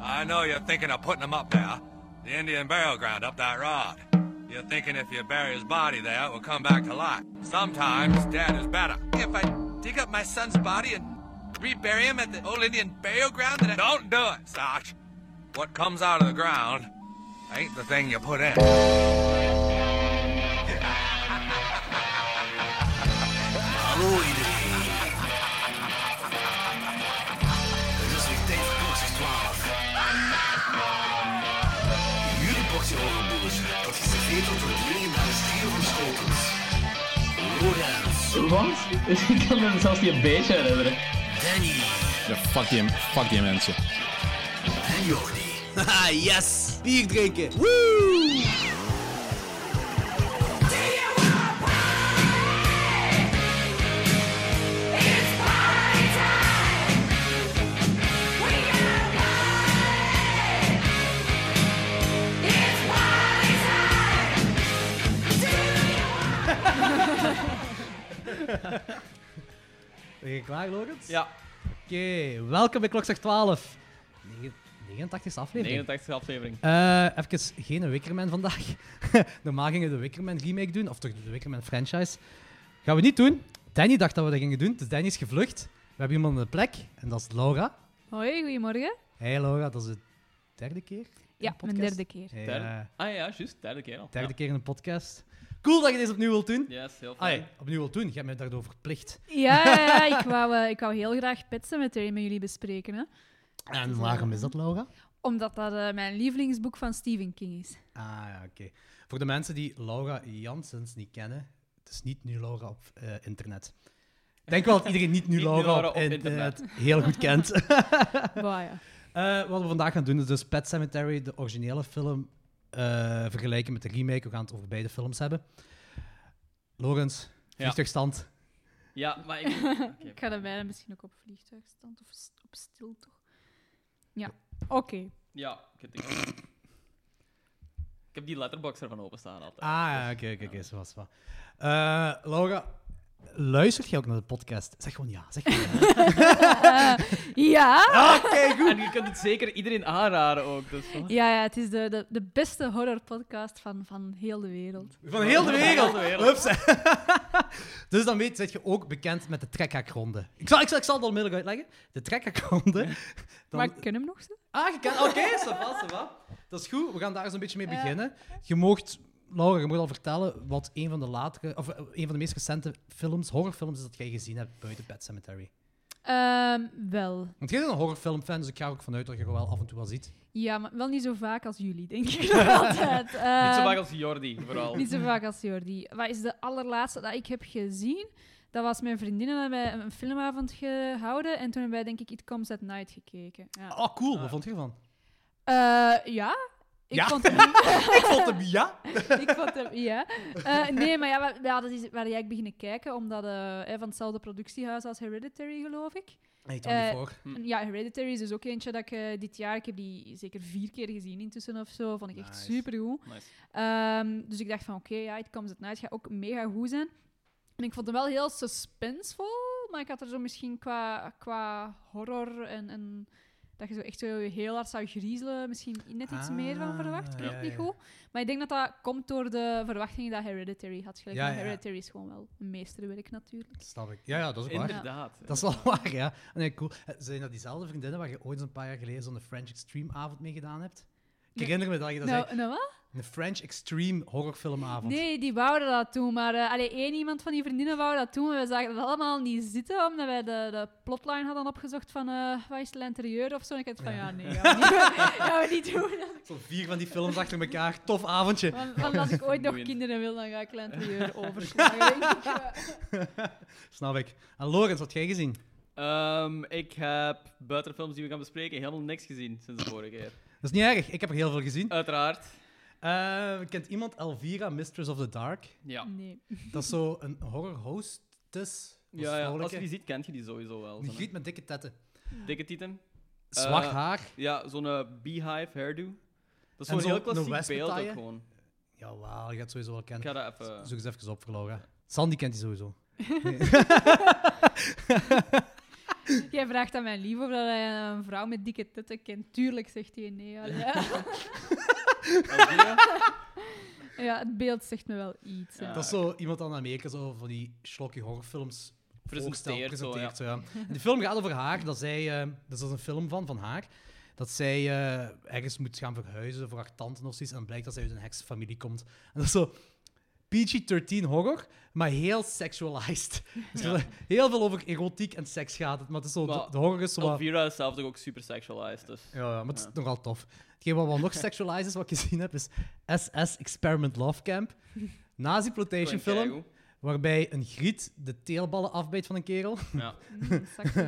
I know you're thinking of putting him up there. The Indian burial ground up that road. You're thinking if you bury his body there, it will come back to life. Sometimes dead is better. If I dig up my son's body and rebury him at the old Indian burial ground, then I... Don't do it, Sarge. What comes out of the ground ain't the thing you put in. Je suis Dave Boxer 12. Jullie boksen overboers, dat is gegeven tot het legendare stier van Schotels. Lorenz, Want ik kan me zelfs niet een beetje herinneren. Danny Ja, fuck, die, fuck die mensen. en Jordi. Haha, yes! Bier drinken! Woo! Ben je klaar, Logans? Ja, Oké, welkom bij Klokslag 12. Negen- 89 aflevering. 89 aflevering. Eh, even geen Wickerman vandaag. Normaal gingen we de Wickerman remake doen, of toch de Wickerman franchise. Gaan we niet doen. Danny dacht dat we dat gingen doen, dus Danny is gevlucht. We hebben iemand op de plek, en dat is Laura. Hoi, goedemorgen. Hey Laura, dat is de derde keer? Ja, mijn podcast? derde keer. Hey, Derde? eh, Ah ja, juist, derde keer al. derde ja. keer in een podcast. Cool dat je dit opnieuw wilt doen. Ja, is heel Ah, fijn. ja, opnieuw wilt doen, jij bent daardoor verplicht. Ja, ja, ja, ik, wou, eh, ik wou heel graag Pet met met jullie bespreken. Hè? En waarom is dat, Laura? Omdat dat eh, mijn lievelingsboek van Stephen King is. Ah, ja, oké. Voor de mensen die Laura Janssens niet kennen, het is niet nu Laura op eh, internet. Ik denk wel dat iedereen niet nu Niet Nu Laura, Laura op, op internet, heel goed kent. Bah, ja. Eh, wat we vandaag gaan doen is dus Pet Cemetery, de originele film, eh, vergelijken met de remake. We gaan het over beide films hebben. Logans, vliegtuigstand. Ja, maar ik... oké. Ik ga dat bijna misschien ook op vliegtuigstand of st- op stil, toch? Ja, oké. Ja, ik heb die, ik heb die letterbox ervan openstaan altijd. Ah, ja, oké, oké, oké, zo was het wel. Eh, Laura, luister jij ook naar de podcast? Zeg gewoon ja, zeg gewoon ja. Ja! Ah, Oké, goed. En je kunt het zeker iedereen aanraden ook. Dus. Ja, ja het is de, de, de beste horrorpodcast van, van heel de wereld. Van heel de wereld. Van heel de wereld. Hups. dus dan weet zet je ook bekend met de trekhakronde. Ik zal, ik, zal, ik zal het onmiddellijk uitleggen. De trekhakronde. Dan... Maar ik ken hem nog zo. Ah, je kan... Oké, ça va, ça va. Dat is goed. We gaan daar eens een beetje mee beginnen. Je mocht... Laura, je moet al vertellen wat een van de latere... Of eh, een van de meest recente films, horrorfilms, is dat jij gezien hebt buiten Pet Cemetery. Ehm, wel. Want jij bent een horrorfilmfan, dus ik ga er ook vanuit dat je er wel af en toe wel ziet. Ja, maar wel niet zo vaak als jullie, denk ik nog altijd. Niet zo Ehm, vaak als Jordi, vooral. Niet zo vaak als Jordi. Wat is de allerlaatste dat ik heb gezien? Dat was mijn vriendinnen hebben wij een filmavond gehouden. En toen hebben wij, denk ik, It Comes at Night gekeken. Ja, Oh, cool. Wat vond je ervan? Eh, ja? Ik Ja? vond hem... Ik vond hem ja. ik vond hem ja. Eh, nee, maar ja, we, we hadden iets- we hadden eigenlijk beginnen kijken, omdat eh, eh, van hetzelfde productiehuis als Hereditary, geloof ik. Nee, ik niet Eh, voor. En Ja, Hereditary is dus ook eentje dat ik eh, dit jaar... Ik heb die zeker vier keer gezien intussen of zo. Vond ik echt Nice. supergoed. Nice. Ehm, dus ik dacht van, oké, ja, It Comes at Night gaat ook mega goed zijn. En ik vond hem wel heel suspensevol, maar ik had er zo misschien qua, qua horror en, en dat je zo echt zo heel hard zou griezelen, misschien net iets meer van verwacht. Ah, Ik weet ja, het niet ja. goed. Maar ik denk dat dat komt door de verwachtingen dat Hereditary had. Gelijk, Ja, maar ja. Hereditary is gewoon wel een meesterwerk natuurlijk. Snap ik. Ja, ja, dat is waar. Inderdaad. Dat is wel waar, ja. Nee, cool. Eh, Zijn dat diezelfde vriendinnen waar je ooit een paar jaar geleden zo'n French Extreme avond mee gedaan hebt? Ik Nee. herinner me dat je dat zei. Nou, nou wat? Een French Extreme horrorfilmavond. Nee, die wouden dat toen. Maar eh allee, één iemand van die vriendinnen wou dat toen. Maar we zagen dat allemaal niet zitten, omdat wij de, de plotline hadden opgezocht van eh wat is het interieur of zo. En ik had van, ja, nee, gaan we niet, gaan we niet doen. Zo'n vier van die films achter elkaar. Tof avondje. Want, want als ik ooit nog Boeiend. kinderen wil, dan ga ik het interieur overslaan. denk ik. Ja. Snap ik. En Lorenz, wat jij gezien? Ehm, ik heb buiten de films die we gaan bespreken helemaal niks gezien sinds de vorige keer. Dat is niet erg. Ik heb er heel veel gezien. Uiteraard. Eh, kent iemand Elvira, Mistress of the Dark? Ja. Nee. Dat is zo een horror hostess. Ja, ja, als je die ziet, kent je die sowieso wel. Een Zo'n griet met dikke tetten. Dikke tieten. Zwart Eh, haar. Ja, zo'n eh, beehive hairdo. Dat En is zo'n zo heel een klassiek beeld wespentaille. ook gewoon. Jawel, je gaat het sowieso wel Ik eh, kennen. ga dat even... Zoek eens even op voor Laura. Sandy kent die sowieso. Jij vraagt aan mijn lief of dat hij een vrouw met dikke titten kent. Tuurlijk zegt hij nee. Allee, Ja. ja, het beeld zegt me wel iets. hè. Ah, Ja. Dat is zo iemand aan Amerika zo van die slokje horrorfilms voorstel, Presenteert zo, ja. presenteert. zo, ja. En de film gaat over haar, dat zij, eh, dat is een film van, van haar, dat zij eh, ergens moet gaan verhuizen voor haar tante of zoiets. En dan blijkt dat zij uit een heksenfamilie komt. En dat is zo PG-13 horror, maar heel sexualized. Dus er is heel veel over erotiek en seks gaat het, maar het is zo, de, Maar de horror is zo wat- Elvira is zelf toch ook super sexualized, dus... ja, ja, maar het is nogal tof. Hetgeen wat wel nog sexualized is, wat ik gezien heb, is SS Experiment Love Camp. Nazi-plotation Gewoon film, waarbij een griet de teelballen afbijt van een kerel. Ja. Mm, sexy.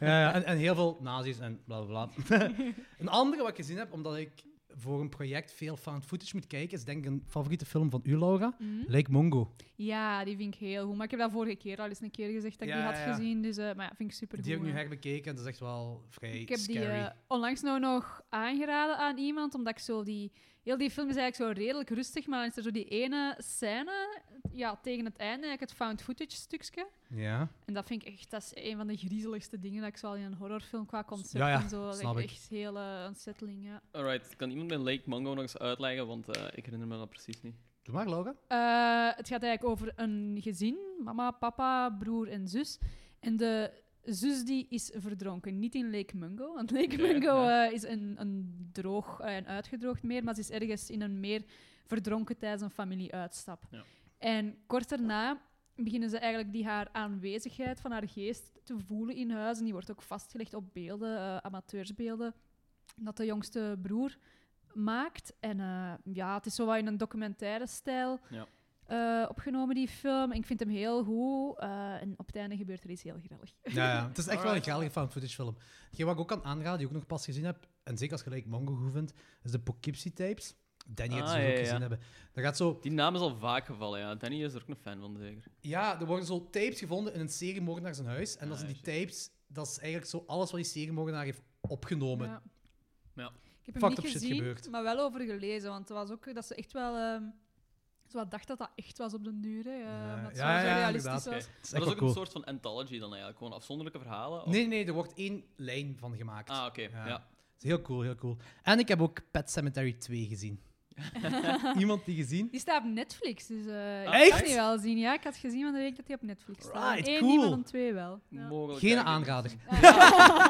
Ja, ja, en, en heel veel nazi's en bla bla bla. een andere wat ik gezien heb, omdat ik voor een project veel found footage moet kijken, is denk ik een favoriete film van u, Laura. Hm? Lake Mungo. Mm. ja, die vind ik heel goed. Maar ik heb dat vorige keer al eens een keer gezegd dat ik Ja, die had ja, ja. gezien. Dus, eh, maar ja, vind ik super Die heb ik nu goed. herbekeken en dat is echt wel vrij Ik heb scary. die eh, onlangs nou nog aangeraden aan iemand, omdat ik zo die... Heel die film is eigenlijk zo redelijk rustig, maar dan is er zo die ene scène ja, tegen het einde, eigenlijk het found footage stukje. Ja. En dat vind ik echt, dat is een van de griezeligste dingen dat ik zo al in een horrorfilm qua concept Ja, ja, en zo. dat snap ik ik. Echt heel eh, unsettling, ja. Alright, kan iemand mijn Lake Mungo nog eens uitleggen? Want eh, ik herinner me dat precies niet. Doe maar, Laura. Eh, het gaat eigenlijk over een gezin: mama, papa, broer en zus. En de zus die is verdronken. Niet in Lake Mungo, want Lake Nee, Mungo nee. eh, is een, een droog en uitgedroogd meer, maar ze is ergens in een meer verdronken tijdens een familieuitstap. Ja. En kort daarna beginnen ze eigenlijk die haar aanwezigheid van haar geest te voelen in huis. En die wordt ook vastgelegd op beelden, eh, amateursbeelden, dat de jongste broer maakt. En eh, ja, het is zo wat in een documentaire stijl Ja. eh, opgenomen, die film. En ik vind hem heel goed. eh, en op het einde gebeurt er iets heel grillig. Ja, ja. Het is echt wel een graalige fan footage film. Hetgeen wat ik ook kan aanraden, die ik ook nog pas gezien heb, en zeker als je like Mongo goed vindt, is de Poughkeepsie tapes. Danny gaat Ah, ze dus ook ja, ja. gezien hebben. Daar gaat zo, Die naam is al vaak gevallen, ja. Danny is er ook een fan van, zeker. ja, er worden zo tapes gevonden in een seriemoordenaar zijn huis. En dat Ah, zijn die tapes, dat is eigenlijk zo alles wat die seriemoordenaar heeft opgenomen. Ja. Ja. Ik heb hem Fucked niet up shit gezien, gebeurd. maar wel over gelezen. Want het was ook dat ze echt wel... ehm, zo wat dacht dat dat echt was op den duur. hè, eh, Ja, omdat het ja, zo, zo ja, realistisch inderdaad. was. Oké. Dat Maar dat is echt is wel ook cool. een soort van anthology dan eigenlijk. Gewoon afzonderlijke verhalen? of- Nee, nee, er wordt één lijn van gemaakt. Ah, oké. Ja. Ja. Dat is heel cool, heel cool. En ik heb ook Pet Cemetery 2 gezien. Iemand die Oh, gezien? Die staat op Netflix, dus eh, Ah, ik echt? kan die wel zien. Ja, ik had gezien van de week dat die op Netflix staat. Right, Eén cool. niet, maar dan twee wel. Ja. Mogelijk Geen dat ik- aanrader.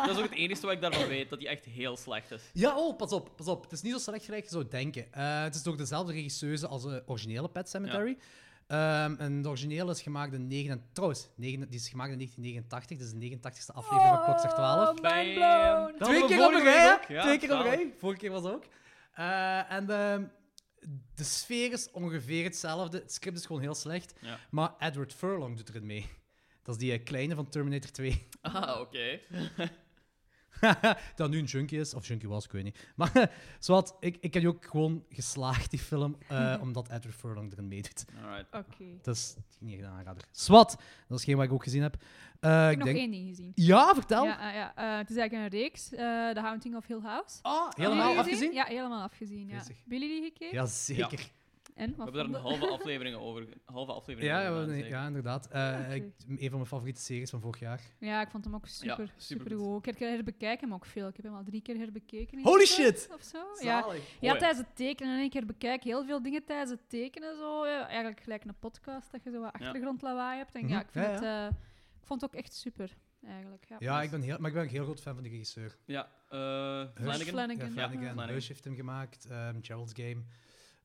Dat is ook het enige wat ik daarvan weet, dat die echt heel slecht is. Ja, oh, pas op, pas op. Het is niet zo slecht gelijk je zou denken. Eh, het is door dezelfde regisseuse als de originele Pet Cemetery. Ehm, en de originele is gemaakt in... Negen, trouwens, negen, die is gemaakt in 1989. Dus de 89ste aflevering van Oh. Klokslag 12. mind blown. Bam. Dat Twee hadden we keer op een vorige rij, week ook. hè? Ja, Twee keer op een zalig. rij. Vorige keer was het ook. Eh, en ehm, de sfeer is ongeveer hetzelfde. Het script is gewoon heel slecht. Ja. Maar Edward Furlong doet erin mee. Dat is die eh, kleine van Terminator 2. Ah, oké. dat nu een junkie is, of junkie was, ik weet niet. Maar zowat, ik, ik heb die ook gewoon geslaagd, die film, eh, omdat Edward Furlong erin meedoet. Alright. Oké. Dat is niet een aanrader. Zwat, dat is geen wat ik ook gezien heb. Eh, Ik heb ik nog denk... één ding gezien. Ja, vertel. Ja, ah, ja. eh, het is eigenlijk een reeks, eh, The Haunting of Hill House. Ah, Hebben helemaal jullie afgezien? Ja, helemaal afgezien. Ja. Bezig. Hebben jullie die gekeken? Jazeker. En? We Wat hebben daar een vonden- halve aflevering over. Halve aflevering Ja, over ja, gedaan, nee, zeker. ja inderdaad. Eh oké. ik- een van mijn favoriete series van vorig jaar. Ja, ik vond hem ook super, supergoed. super goed. Ik herbekijk hem ook veel. Ik heb hem al drie keer herbekeken. is Holy het dat? shit! Of zo. Ja, Zalig. ja, Oh, ja. tijdens het tekenen in één keer bekijk heel veel dingen tijdens het tekenen. Zo. Ja, eigenlijk gelijk een podcast, dat je zo wat achtergrondlawaai hebt. En ja, Mhm. ik, vind Ja, Het, eh, ik vond het ook echt super, eigenlijk. Ja, Ja, ik ben heel, maar ik ben ook heel groot fan van de regisseur. Ja, eh, Hush. Flanagan. Flanagan. Ja, Ja, Flanagan. Flanagan. Hush heeft hem gemaakt. ehm Gerald's Game.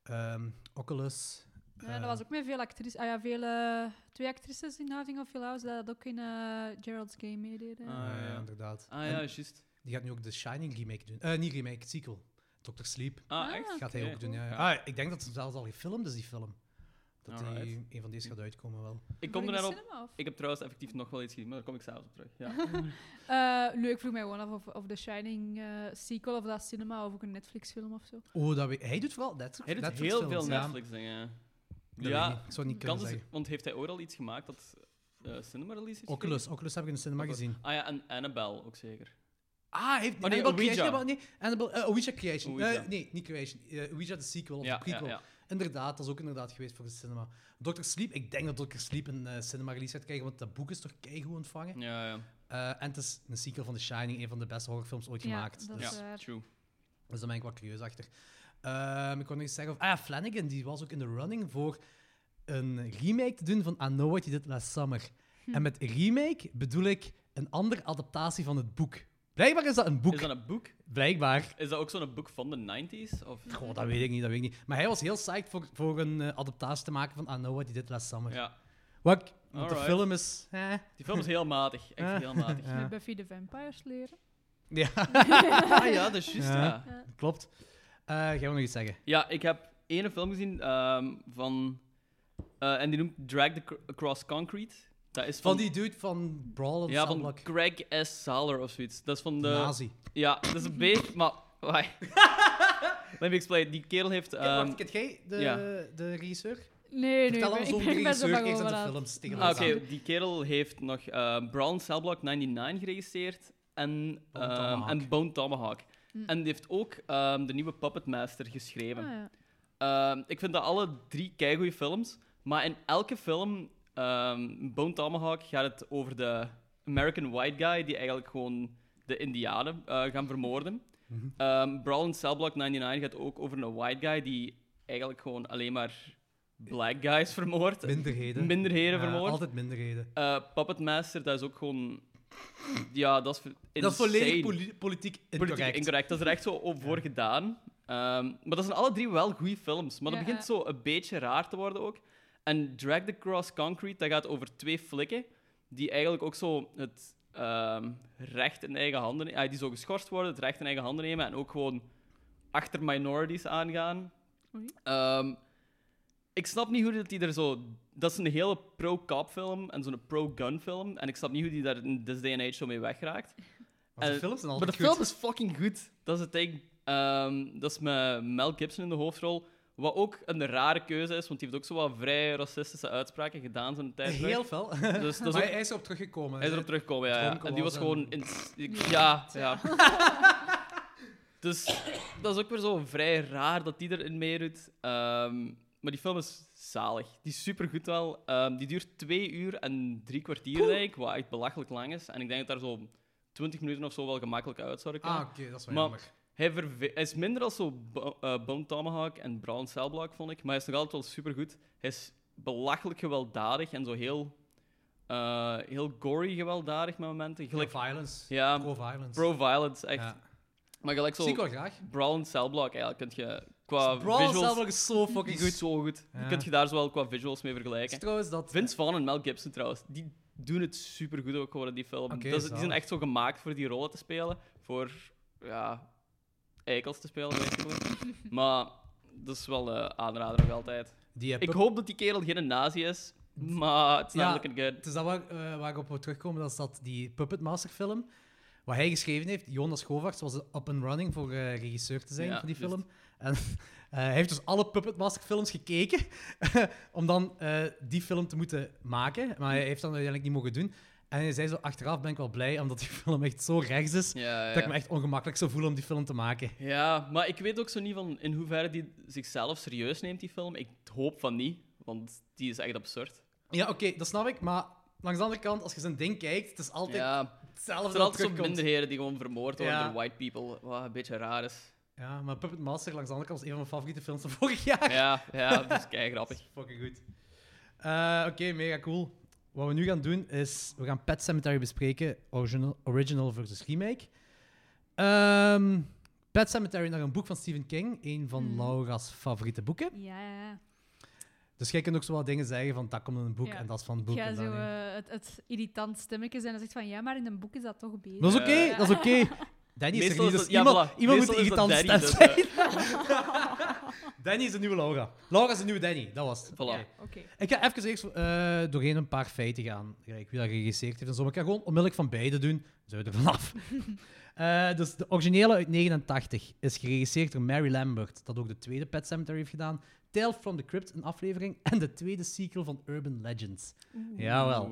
ehm, Oculus. Ja, dat was ook met veel actrices. Ah ja, veel, eh, twee actrices in Having of Your House dat ook in eh, Gerald's Game meededen. Ah, Ehm, ja, ja. inderdaad. Ah En ja, juist. die gaat nu ook de Shining remake doen. Eh, niet remake, sequel. Dr. Sleep Ah, Ah, echt? gaat hij Oké. ook doen. Ja, ja. Ah, ik denk dat het zelfs al gefilmd is, die film. Dat die, Alright. een van deze gaat uitkomen wel. Ik kom er Voor in net de op. cinema, of? Ik heb trouwens effectief nog wel iets gezien, maar daar kom ik s'avonds op terug. Ja. Eh, nee, ik vroeg mij gewoon af of, of The Shining eh, sequel of dat cinema of ook een Netflix film of zo. Oh, dat weet- hij doet vooral Netflix. Hij doet Netflix heel films, veel ja. Netflix-dingen. Dat Ja, weet ik niet. Ik zou het niet kunnen Kans is, zeggen. want heeft hij ooit al iets gemaakt dat eh, cinema release heeft Oculus, Oculus heb ik in de cinema Oculus. gezien. gekregen? Ah ja, en Annabelle ook zeker. Ah, heeft Oh, nee, Annabelle Ouija. Creation. maar Nee, Annabelle, eh, Ouija Creation. Ouija. Eh, nee, niet Creation. Eh, Ouija de sequel of ja, de prequel. ja, ja. Inderdaad, dat is ook inderdaad geweest voor de cinema. Dr. Sleep, ik denk dat Dr. Sleep een eh, cinema release gaat krijgen, want dat boek is toch keigoed ontvangen. ja, ja. Eh, Eh, en het is een sequel van The Shining, een van de beste horrorfilms ooit Ja, gemaakt. dat dus, is eh, dus Ja, waar. true. daar ben ik wat curieus achter. Ehm, ik kon nog iets zeggen. Of, ah, ja, Flanagan die was ook in de running voor een remake te doen van I Know What You Did Last Summer. Hm. En met remake bedoel ik een andere adaptatie van het boek. Blijkbaar is dat een boek. Is dat een boek? Blijkbaar. Is dat ook zo'n boek van de 90s? Of? Goh, dat weet ik niet, dat weet ik niet. Maar hij was heel psyched voor, voor een eh, adaptatie te maken van I Know What You Did Last Summer. Ja. Wat ik- want de Alright. film is... Eh, Die film is heel matig. Echt Ja. heel matig. Ja. Met Buffy de Vampire Slayer. ja, Ah ja, dat is juist. Ja. Ja. klopt. Eh jij wil nog iets zeggen? Ja, ik heb ene film gezien ehm, van... eh, en die noemt Drag the Cr- Across Concrete. Dat is van, Van die dude van Brawl of Ja, van Sunblock. Greg S. Saler of zoiets. Dat is van de... Nazi. Ja, dat is een beetje... Maar... Wai. Let me explain. Die kerel heeft... Kijk, ehm, wacht, kent jij de, ja. de regisseur? Nee, nee, Vertel maar ons ik over de ben best wel regisseur. bang Eerst over de dat. films tegen ah, elkaar Oké, aan. die kerel heeft nog eh Brown Cell Block 99 geregisseerd en Bone ehm, Tomahawk. en Bone Tomahawk. Hm. En die heeft ook ehm, de nieuwe Puppet Master geschreven. Ah, ja. Ehm, ik vind dat alle drie keigoede films. Maar in elke film, ehm Bone Tomahawk, gaat het over de American White Guy die eigenlijk gewoon de Indianen eh, gaan vermoorden. Mhm. Ehm, Brawl in Cell Block 99 gaat ook over een white guy die eigenlijk gewoon alleen maar black guys vermoordt. Minderheden. Minderheden Ja, vermoord. Altijd minderheden. Eh, Puppet Master, dat is ook gewoon... Ja, dat is... ver- Dat is volledig insane. poli- politiek Politiek incorrect. incorrect. Dat is er echt zo op voor gedaan. Ehm, maar dat zijn alle drie wel goede films. Maar dat Ja, begint ja. zo een beetje raar te worden ook. En Drag the Cross Concrete, dat gaat over twee flikken. Die eigenlijk ook zo het ehm, recht in eigen handen... eh, die zo geschorst worden, het recht in eigen handen nemen. En ook gewoon achter minorities aangaan. Oei. Ehm, ik snap niet hoe dat die er zo... Dat is een hele pro-cop film en zo'n pro-gun film. En ik snap niet hoe die daar in this day and age zo mee wegraakt. Want de Eh, films Maar zijn altijd de goed. film is fucking goed. Dat is het ding. Ehm, dat is met Mel Gibson in de hoofdrol. Wat ook een rare keuze is, want die heeft ook zo wat vrij racistische uitspraken gedaan zo'n tijd terug. Heel fel. Dus dat is maar ook- hij is erop teruggekomen. Hij is erop teruggekomen, ja. ja. Dronken En die was was en- gewoon... In... Ja, ja. dus dat is ook weer zo vrij raar dat die erin meedoet. Ehm, maar die film is zalig. Die is supergoed wel. Ehm, die duurt twee uur en drie kwartier, denk ik. Wat echt belachelijk lang is. En ik denk dat daar zo twintig minuten of zo wel gemakkelijk uit zouden Ah, kunnen. oké, dat is wel Maar- jammer. Hij, verve- hij is minder als zo Bo- eh, Bone Tomahawk en Brown Cell Block, vond ik. Maar hij is nog altijd wel supergoed. Hij is belachelijk gewelddadig en zo heel... eh, heel gory gewelddadig met momenten. Gelijk, Violence. ja, Pro-violence. pro-violence, echt. Ja. Maar gelijk Zie ik wel zo... graag. Brawl en Cell Block, eigenlijk, kunt je... Qua Brawl uh, visuals... zelf is zo fucking is goed. zo goed. Ja. Je kunt je daar zo wel qua visuals mee Is vergelijken. trouwens dat... Vince Vaughn en Mel Gibson, trouwens, die doen het supergoed ook gewoon in die film. Oké, Dat is- die zijn zalig. echt zo gemaakt voor die rollen te spelen. Voor, ja, eikels te spelen, basically. maar dat is wel een aanrader nog altijd. Die eh, heb Ik hoop dat die kerel geen nazi is, maar it's not Ja. looking good. Het is dat waar, eh, waar ik op wil terugkomen, dat is dat die Puppet Master film, wat hij geschreven heeft, Jonas Govaerts was up and running voor eh, regisseur te zijn Ja, van die juist. film. En eh, hij heeft dus alle Puppet Master films gekeken om dan eh, die film te moeten maken, maar hij heeft dat uiteindelijk niet mogen doen. En hij zei zo, achteraf ben ik wel blij, omdat die film echt zo rechts is, Ja, dat ik ja. me echt ongemakkelijk zou voelen om die film te maken. ja, maar ik weet ook zo niet van in hoeverre die zichzelf serieus neemt, die film. Ik hoop van niet, want die is echt absurd. Ja, oké, dat snap ik, maar langs de andere kant, als je zijn ding kijkt, het is altijd Ja, hetzelfde er zijn dat altijd zo'n terugkomt. minderheden die gewoon vermoord worden Ja. door white people, wat een beetje raar is. Ja, maar Puppet Master langs de andere kant was een van mijn favoriete films van vorig jaar. Ja, ja, dat is kei grappig. Fucking goed. Eh, Oké, mega cool. Wat we nu gaan doen is, we gaan Pet Cemetery bespreken, original, original versus remake. Ehm, Pet Cemetery naar een boek van Stephen King, een van Mhm. Laura's favoriete boeken. Ja, ja, ja. Dus jij kunt ook zo wat dingen zeggen van dat komt in een boek Ja. en dat is van het boek. Ik ga en dat zo niet. eh, het, het irritant stemmetje zijn en zegt van ja, maar in een boek is dat toch beter. Dat is oké, Ja. dat is oké. Danny is Meestal er niet, is dus dat- ja, iemand, voilà. iemand moet Meestal is dat irritant Danny, stem dus, eh. zijn. Danny is de nieuwe Laura. Laura is de nieuwe Danny, dat was het. Voilà. Ja, oké. Ik ga even eerst eh, doorheen een paar feiten gaan. Gelijk wie dat geregisseerd heeft en zo. Maar ik ga gewoon onmiddellijk van beide doen. Zijn we er vanaf. Eh, dus de originele uit 89 is geregisseerd door Mary Lambert, dat ook de tweede Pet Cemetery heeft gedaan. Tale from the Crypt, een aflevering. En de tweede sequel van Urban Legends. Jawel.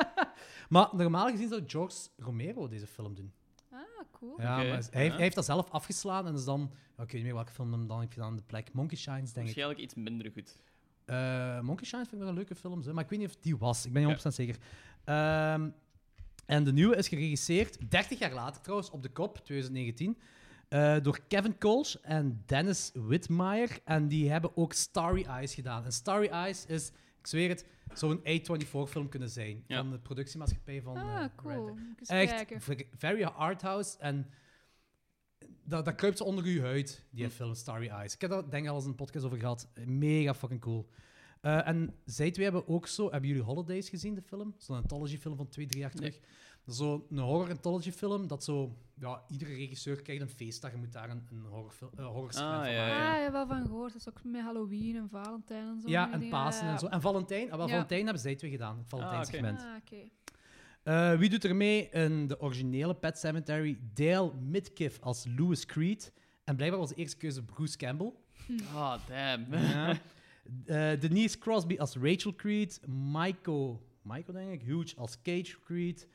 maar normaal gezien zou George Romero deze film doen. Ah, cool. Ja, Oké, maar hij, heeft- ja. hij heeft dat zelf afgeslaan en is dan... ja, Ik weet niet meer welke film hem dan heeft gedaan. De plek Monkey Shines, denk ik. Waarschijnlijk iets minder goed. Eh Monkey Shines vind ik wel een leuke film, hè, maar ik weet niet of die was. Ik ben niet 100% zeker. Ehm, En de nieuwe is geregisseerd, 30 jaar later trouwens, op de kop, 2019, eh, door Kevin Coles en Dennis Whitmire. En die hebben ook Starry Eyes gedaan. En Starry Eyes is, ik zweer het, zo'n A24-film kunnen zijn. Ja. Van de productiemaatschappij van eh, Ah, Red cool. Dead. Moet ik eens kijken. Echt, ver- very arthouse. En dat, dat kruipt ze onder uw huid, Hm. die film Starry Eyes. Ik heb daar denk ik al eens een podcast over gehad. Mega fucking cool. Eh, en zij twee hebben ook zo... Hebben jullie Holidays gezien, de film? Zo'n anthology-film van twee, drie jaar terug. Zo'n horror-anthology-film dat zo... Ja, iedere regisseur krijgt een feestdag en moet daar een, een horrorfil- eh, horror-segment Ah, van ja, maken. ja. Ah, ja, wel van gehoord. Dat is ook met Halloween en Valentijn en zo. Ja, die en dingen. Pasen en zo. En Valentijn. Ah, wel, Ja. Valentijn hebben zij twee gedaan. Het Valentijnsegment. Ah, oké. Eh, wie doet er mee in de originele Pet Cemetery? Dale Midkiff als Lewis Creed. En blijkbaar was de eerste keuze Bruce Campbell. Hm. Ah, damn. Eh, Denise Crosby als Rachel Creed. Michael, Michael denk ik, Huge als Cage Creed.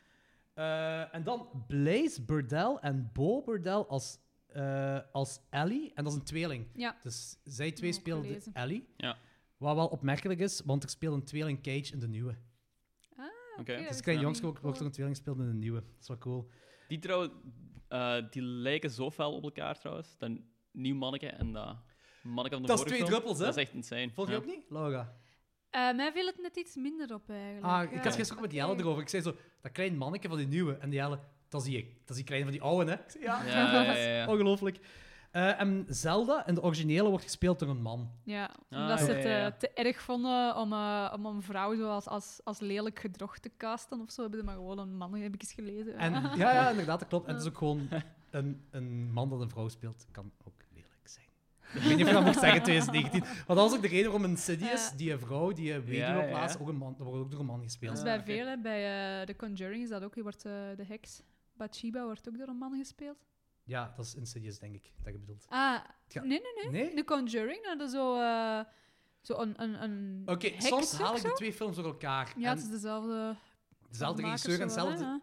Eh, en dan Blaze Burdell en Bo Burdell als, eh, als Ellie. En dat is een tweeling. Ja. Dus zij twee Ook speelden gelezen. Ellie. Ja. Wat wel opmerkelijk is, want er speelt een tweeling Cage in de nieuwe. Oké. Ah, Dus Ja, dat klein is jongske cool. wordt er een tweeling gespeeld in de nieuwe. Dat is wel cool. Die trouwens, eh, die lijken zo fel op elkaar trouwens. Dat nieuw manneke en dat manneke van de Dat is vorige twee film. druppels, hè? Dat is echt insane. Volg je Ja. ook niet, Laura? Eh, mij viel het net iets minder op eigenlijk. Ah, ik Ja, had gisteren ook met die Jelle oké. erover. Ik zei zo, dat klein manneke van die nieuwe. En die Jelle, dat zie ik. Dat is die kleine van die oude, hè? Ik zei, ja, Ja, ja, ja, ja. ongelooflijk. Eh, en Zelda, in de originele, wordt gespeeld door een man. Ja, Ah, omdat ze ja, het ja, eh, ja. te erg vonden om, eh, om een vrouw zo als, als, als lelijk gedrocht te casten of zo. Hebben ze maar gewoon een man, heb ik eens gelezen. En, ja, ja, inderdaad, dat klopt. En het is ook gewoon een, een man dat een vrouw speelt. Kan ook lelijk zijn. Ik weet niet of je dat mocht zeggen, 2019. Maar dat was ook de reden waarom een City is, Ja. die een vrouw, die een weduwe Ja, ja, ja. plaatst, ook een man, dat wordt ook door een man dat gespeeld. is Ah, bij oké. veel, hè. bij eh, The Conjuring is dat ook. Hier wordt eh, de heks. Bathsheba wordt ook door een man gespeeld. Ja, dat is Insidious, denk ik, dat je bedoelt. Ah, Ja. nee, nee, nee. Nee? The Conjuring, dat is zo, eh, zo een, een, een Oké, heks soms ook haal ik zo. de twee films door elkaar. Ja, En- het is dezelfde... Dezelfde makers regisseur en zo wel, hè, dezelfde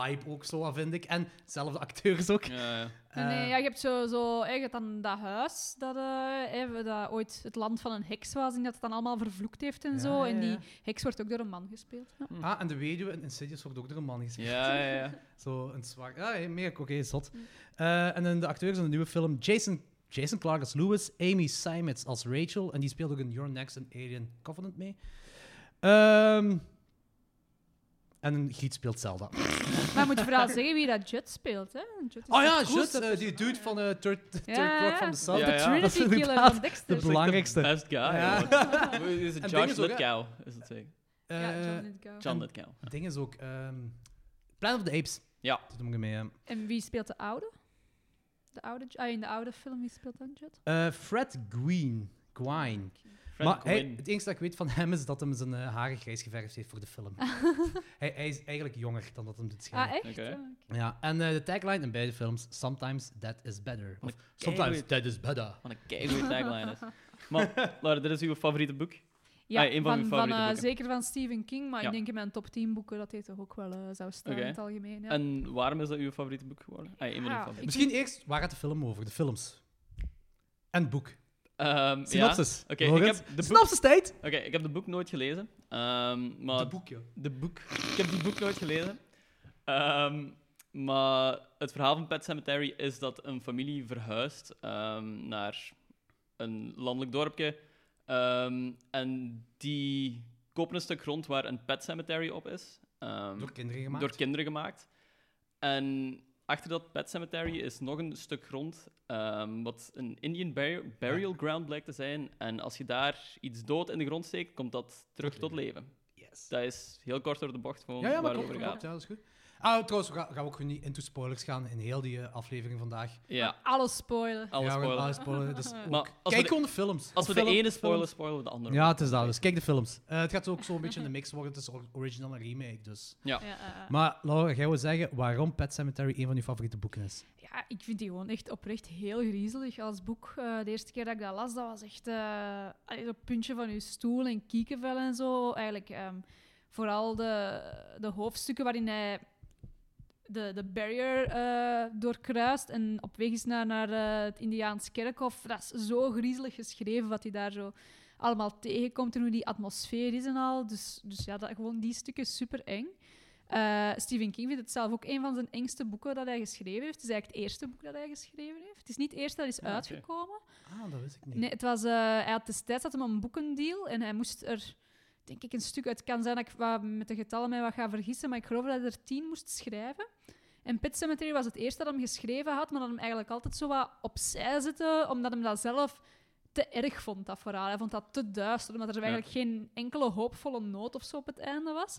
ja. vibe ook zo, wat vind ik. En dezelfde acteurs ook. Ja, ja. Nee, nee, Eh, ja, je hebt zo, zo eh, je hebt dan dat huis dat, eh, eh, dat ooit het land van een heks was en dat het dan allemaal vervloekt heeft en Ja, zo. ja, En die ja. heks wordt ook door een man gespeeld. Ja. Ah, en de weduwe in Insidious wordt ook door een man gespeeld. Ja, ja, ja. Zo een zwak... Ja, hey, meer oké, zot. Eh, en dan de acteurs in de nieuwe film. Jason, Jason Clarke als Lewis, Amy Simons als Rachel. En die speelt ook in Your Next en Alien Covenant mee. Ehm, en een giet speelt Zelda. Maar je moet vooral zeggen wie dat Jud speelt. Hè? Jud is Oh ja, de Jut, grootste. eh, die dude van eh Third, third Ja, Rock ja. from the Sun. Ja, de ja. Dat is Trinity Killer inderdaad van Dexter. De belangrijkste. Best guy. Ja. hoor. Hoe Is En het ding Josh is ook, hè? Lithgow, is het zeker? Ja, Eh, John Lithgow. John en- Lithgow. ding is ook... ehm Planet of the Apes. Ja. Dat doet me mee, hè. En wie speelt de oude? De oude Ju- ah, in de oude film, wie speelt dan Jud? Eh, Fred Gwynn. Gwynn. Fred maar hij- Gwynn. het enige dat ik weet van hem is dat hem zijn eh, haren grijs geverfd heeft voor de film. hij, hij is eigenlijk jonger dan dat hem doet schijnen. Ah, echt? Oké. Ah, oké. ja, en eh, de tagline in beide films, Sometimes that is better. Of Sometimes keigoed. that is better. Wat een keigoede tagline is. Maar, Laura, dit is uw favoriete boek. Ja, Ah, een van van, uw van, favoriete eh, boeken. zeker van Stephen King, maar Ja. ik denk in mijn top 10 boeken dat hij toch ook wel eh, zou staan Oké. in het algemeen. Ja. En waarom is dat uw favoriete boek geworden? Ah, een van uw Ja, favoriete. ik- Misschien eerst, waar gaat de film over? De films. En het boek. Ehm, Synopsis. Oké, ik Laurens. heb de boek- Synopsis tijd! Ja. Oké, ik heb de boek nooit gelezen. Ehm, maar De boekje. de boek. Ik heb die boek nooit gelezen. Ehm, maar het verhaal van Pet Cemetery is dat een familie verhuist ehm, naar een landelijk dorpje. Ehm, en die kopen een stuk grond waar een Pet Cemetery op is. Ehm, Door kinderen gemaakt. door kinderen gemaakt. En achter dat Pet Cemetery is nog een stuk grond, ehm, wat een Indian burial, burial ground blijkt te zijn. En als je daar iets dood in de grond steekt, komt dat terug tot leven. Yes. Dat is heel kort door de bocht gewoon Ja, ja, maar waar het klopt, over klopt, gaat. klopt, ja, dat is goed. Ah, trouwens, we gaan, gaan we ook gewoon niet into spoilers gaan in heel die eh, aflevering vandaag. Ja, Alles alles spoilen. ja, we gaan spoilen. alles spoilen. Dus ook- Maar als we Kijk de, gewoon de films. als we Of de film- ene films. spoilen, spoilen we de andere. Ja, het is dat. Dus kijk de films. Eh, het gaat ook zo'n beetje een mix worden tussen or- original en remake. Dus. Ja, eh, eh. Maar Laura, jij wil zeggen waarom Pet Cemetery een van je favoriete boeken is? Ja, ik vind die gewoon echt oprecht heel griezelig als boek. Eh, de eerste keer dat ik dat las, dat was echt eh allee, zo'n puntje van je stoel en kiekenvel en zo. Eigenlijk ehm, vooral de, de hoofdstukken waarin hij de, de barrier eh, doorkruist en op weg is naar, naar eh, het Indiaans kerkhof. Dat is zo griezelig geschreven wat hij daar zo allemaal tegenkomt en hoe die atmosfeer is en al. Dus, dus ja, dat, gewoon die stukken super eng. Eh, Stephen King vindt het zelf ook een van zijn engste boeken dat hij geschreven heeft. Het is eigenlijk het eerste boek dat hij geschreven heeft. Het is niet het eerste dat is Ah, oké. uitgekomen. Ah, dat wist ik niet. Nee, het was, eh, hij had destijds had hem een boekendeal en hij moest er, denk ik, een stuk uit. Het kan zijn dat ik wat met de getallen mij wat ga vergissen, maar ik geloof dat hij er tien moest schrijven. En Pet Cemetery was het eerste dat hem geschreven had, maar dat hem eigenlijk altijd zo wat opzij zette, omdat hem dat zelf te erg vond, dat verhaal. Hij vond dat te duister, omdat er eigenlijk geen enkele hoopvolle noot of zo op het einde was.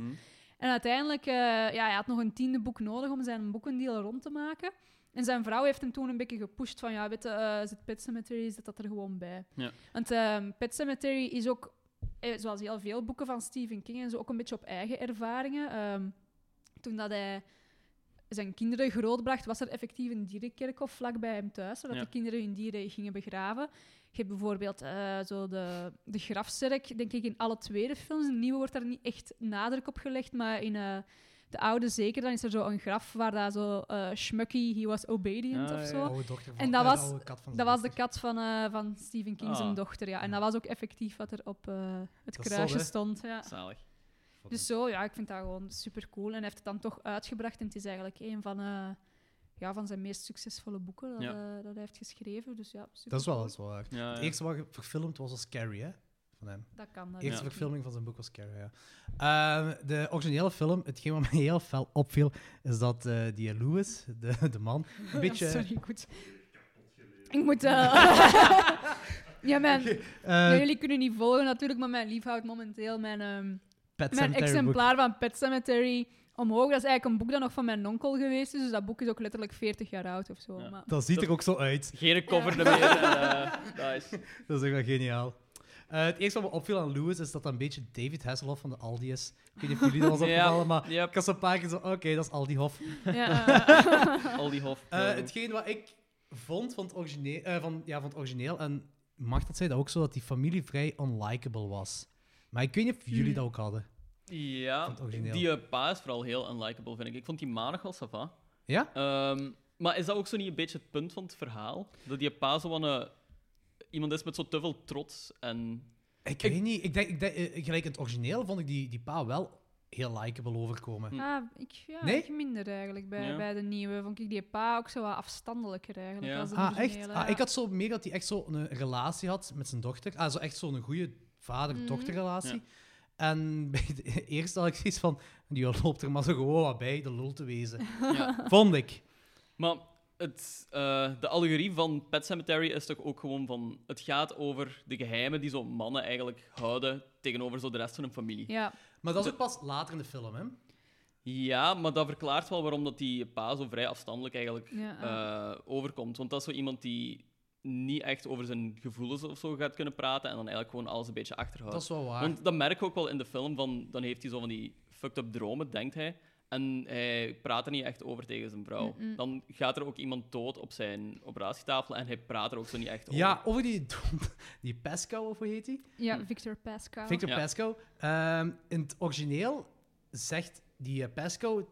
En uiteindelijk, eh, ja, hij had nog een tiende boek nodig om zijn boekendeal rond te maken. En zijn vrouw heeft hem toen een beetje gepusht van, ja, weet je, eh, zet Pet Cemetery, zet dat er gewoon bij. Ja. Want ehm, Pet Cemetery is ook, eh, zoals heel veel boeken van Stephen King en zo, ook een beetje op eigen ervaringen. Ehm, toen dat hij zijn kinderen grootbracht, was er effectief een dierenkerkhof vlak bij hem thuis, zodat Ja. de kinderen hun dieren gingen begraven. Je hebt bijvoorbeeld eh, zo de, de grafzerk, denk ik, in alle tweede films. In de nieuwe wordt daar niet echt nadruk op gelegd, maar in eh, de oude zeker, dan is er zo een graf waar daar zo eh Schmucky, he was obedient Ah, of ja, zo. ja. Oude dochter van- En dat eh, was- oude kat van Dat was de dochter. kat van, eh, van Stephen King, zijn Ah. dochter. Ja. En dat was ook effectief wat er op eh, het Dat is kruisje zot, hè? stond. Ja. Zalig. Dus zo, ja, ik vind dat gewoon super cool. En hij heeft het dan toch uitgebracht. En het is eigenlijk een van, eh, ja, van zijn meest succesvolle boeken dat, Ja. eh, dat hij heeft geschreven. Dus ja, super Dat is wel eens waar. Ja, Het ja. eerste wat verfilmd was als Carrie, hè? Van hem. Dat kan. Dat De eerste weet ik niet. verfilming van zijn boek was Carrie, ja. Ehm, de originele film, hetgeen wat mij heel fel opviel, is dat eh, die Lewis, de, de man, een beetje... Ja, sorry, goed. Ik moet... eh, ja, mijn, eh, jullie kunnen niet volgen natuurlijk, maar mijn lief houdt momenteel mijn... ehm, Pet mijn Sematary boek. exemplaar van Pet Cemetery omhoog. Dat is eigenlijk een boek dat nog van mijn onkel geweest is. Dus dat boek is ook letterlijk 40 jaar oud of zo. Ja. Maar Dat ziet er ook zo uit. Geen cover meer. en, eh, nice. Dat is ook wel geniaal. Eh, het eerste wat me opviel aan Lewis is dat dat een beetje David Hasselhoff van de Aldi is. Ik weet niet of jullie dat was Ja, opgevallen, maar yep. ik had zo'n paar keer zo... Oké, dat is Aldi Hof. ja, eh, Al die hof. Eh, Ja, hetgeen wat ik vond van het, origineel, eh, van, ja, van het origineel, en mag dat zijn, dat ook zo dat die familie vrij unlikable was. Maar ik weet niet of Hmm. jullie dat ook hadden. Ja, vond het origineel. die eh, pa is vooral heel unlikable, vind ik. Ik vond die ma nog wel sava. Ja? maar is dat ook zo niet een beetje het punt van het verhaal? Dat die pa zo van eh, iemand is met zo te veel trots en... Ik, weet niet. Ik denk, ik denk, eh, gelijk in het origineel vond ik die, die pa wel heel likable overkomen. ah, ik, ja, Nee? ik minder eigenlijk bij, Ja. bij de nieuwe. Vond ik die pa ook zo wat afstandelijker eigenlijk. Ja. Als de Ah, echt? originele, Ah, ja. ik had zo meer dat hij echt zo'n relatie had met zijn dochter. Ah, zo echt zo'n goede vader-dochterrelatie. Ja. En bij de eerste had ik zoiets van... Die loopt er maar zo gewoon wat bij, de lul te wezen. Ja. Vond ik. Maar het, eh, de allegorie van Pet Cemetery is toch ook gewoon van... Het gaat over de geheimen die zo'n mannen eigenlijk houden tegenover zo de rest van hun familie. Ja, Ja, Maar dat is ook pas later in de film, hè? maar dat verklaart wel waarom dat die pa zo vrij afstandelijk eigenlijk Ja, eh, overkomt. Want dat is zo iemand die niet echt over zijn gevoelens of zo gaat kunnen praten en dan eigenlijk gewoon alles een beetje achterhoudt. Dat is wel waar. Want dat merk ik ook wel in de film, van, dan heeft hij zo van die fucked up dromen, denkt hij. En hij praat er niet echt over tegen zijn vrouw. Dan gaat er ook iemand dood op zijn operatietafel en hij praat er ook zo niet echt over. Ja, over die, die Pascal, of hoe heet die? ja, Victor Pascal. Hm. Victor Ja. Pascal. Ehm, in het origineel zegt die eh, Pascal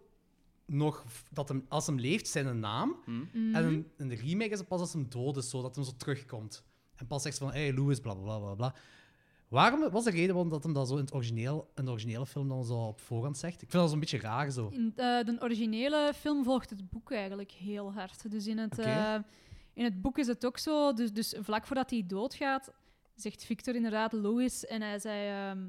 nog v- dat hem, als hem leeft, zijn naam. En Mhm. in, in de remake is het pas als hem dood is, zodat hem zo terugkomt. En pas zegt ze van, hey, Louis, bla, bla, bla, bla, bla. Waarom wat was de reden waarom dat hem dat zo in, het origineel, in de originele film dan zo op voorhand zegt? Ik vind dat zo'n beetje raar, zo. In eh, de originele film volgt het boek eigenlijk heel hard. Dus in het, Oké. eh, in het boek is het ook zo. Dus, dus vlak voordat hij doodgaat, zegt Victor inderdaad Louis. En hij zei. ehm,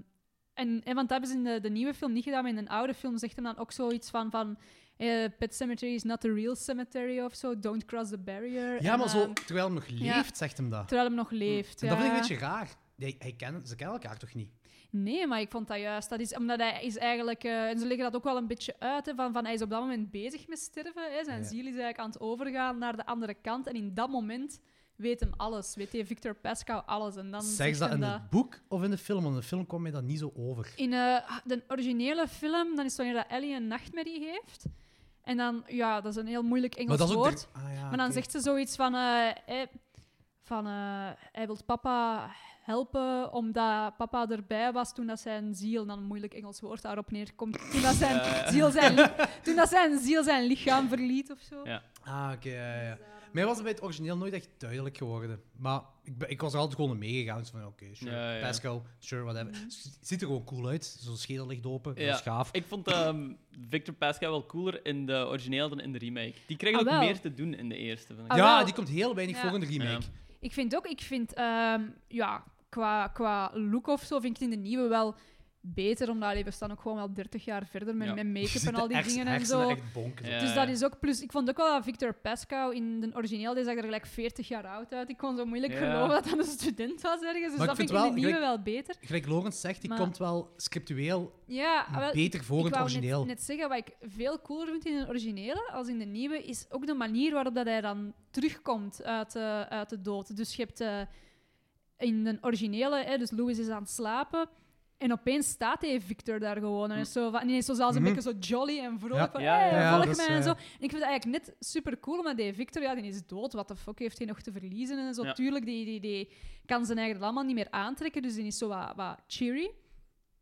en, en want dat hebben ze in de, de nieuwe film niet gedaan, maar in een oude film zegt hem dan ook zoiets van. van eh, Pet Cemetery is not the real cemetery of zo. Don't cross the barrier. Ja, En, maar zo, ehm, terwijl hem nog ja. leeft, zegt hem dat. terwijl hem nog leeft. En ja. dat vind ik een beetje raar. Hij, hij ken, ze kennen elkaar toch niet? Nee, maar ik vond dat juist. Dat is, omdat hij is eigenlijk... eh, en ze leggen dat ook wel een beetje uit, hè, van, van hij is op dat moment bezig met sterven. Hè, zijn Ja. ziel is eigenlijk aan het overgaan naar de andere kant. En in dat moment weet hem alles. Weet hij Victor Pascal alles. En dan Zeg zegt ze dat hem in het boek of in de film? Want in de film kwam mij dat niet zo over. In eh, de originele film, dan is het wanneer dat Ellie een nachtmerrie heeft. En dan... Ja, dat is een heel moeilijk Engels woord. de- Ah, ja, Maar dan oké. zegt ze zoiets van... eh, eh, van eh, hij wil papa helpen omdat papa erbij was toen dat zijn ziel... Dan een moeilijk Engels woord daarop neerkomt. Toen dat zijn, ziel, zijn, li- toen dat zijn ziel zijn lichaam verliet of zo. Ja. Ah, oké, ja, ja. Mij was het bij het origineel nooit echt duidelijk geworden. Maar ik, ben- ik was er altijd gewoon in meegegaan. Zo van, oké, sure, Ja, ja. Pascal, sure, whatever. Mhm. Z- Ziet er gewoon cool uit. Zo'n schedel ligt open, dat Ja, is gaaf. Ik vond ehm, Victor Pascal wel cooler in de origineel dan in de remake. Die kreeg Ah, ook wel. meer te doen in de eerste, vind ik. Ah, ja, wel. die komt heel weinig Ja. voor in de remake. Ik vind ook, ik vind, ehm, ja, qua, qua look of zo, vind ik het in de nieuwe wel beter. Omdat allee, we staan ook gewoon wel 30 jaar verder met, Ja. met Je make-up ziet en de al die hers- dingen en hersenen zo. echt bonken. Ja, Dus dat ja. is ook plus. Ik vond ook wel dat Victor Pascal in de origineel die zag er gelijk 40 jaar oud uit. Ik kon zo moeilijk Ja. geloven dat dat een student was ergens. Dus ik dat vind vind ik in de wel- nieuwe gelijk- wel beter. Gelijk Lorenz zegt, die Maar- komt wel scriptueel Ja, wel, beter voor in ik het wou origineel. Net, net zeggen, wat ik veel cooler vind in de originele als in de nieuwe, is ook de manier waarop dat hij dan terugkomt uit, eh, uit de dood. Dus je hebt eh, in de originele, hè, dus Louis is aan het slapen. En opeens staat hij Victor daar gewoon. En is zo van, ineens zo zelfs een Mhm. beetje zo jolly en vrolijk. Ja. van, Hm. Ja, ja, "Hey, ja, volg dat is, mij en eh, zo. En ik vind het eigenlijk net super cool, maar die Victor, ja, die is dood. Wat de fuck heeft hij nog te verliezen? En zo, Ja. tuurlijk, die, die, die kan zijn eigen allemaal niet meer aantrekken. Dus die is zo wat, wat cheery.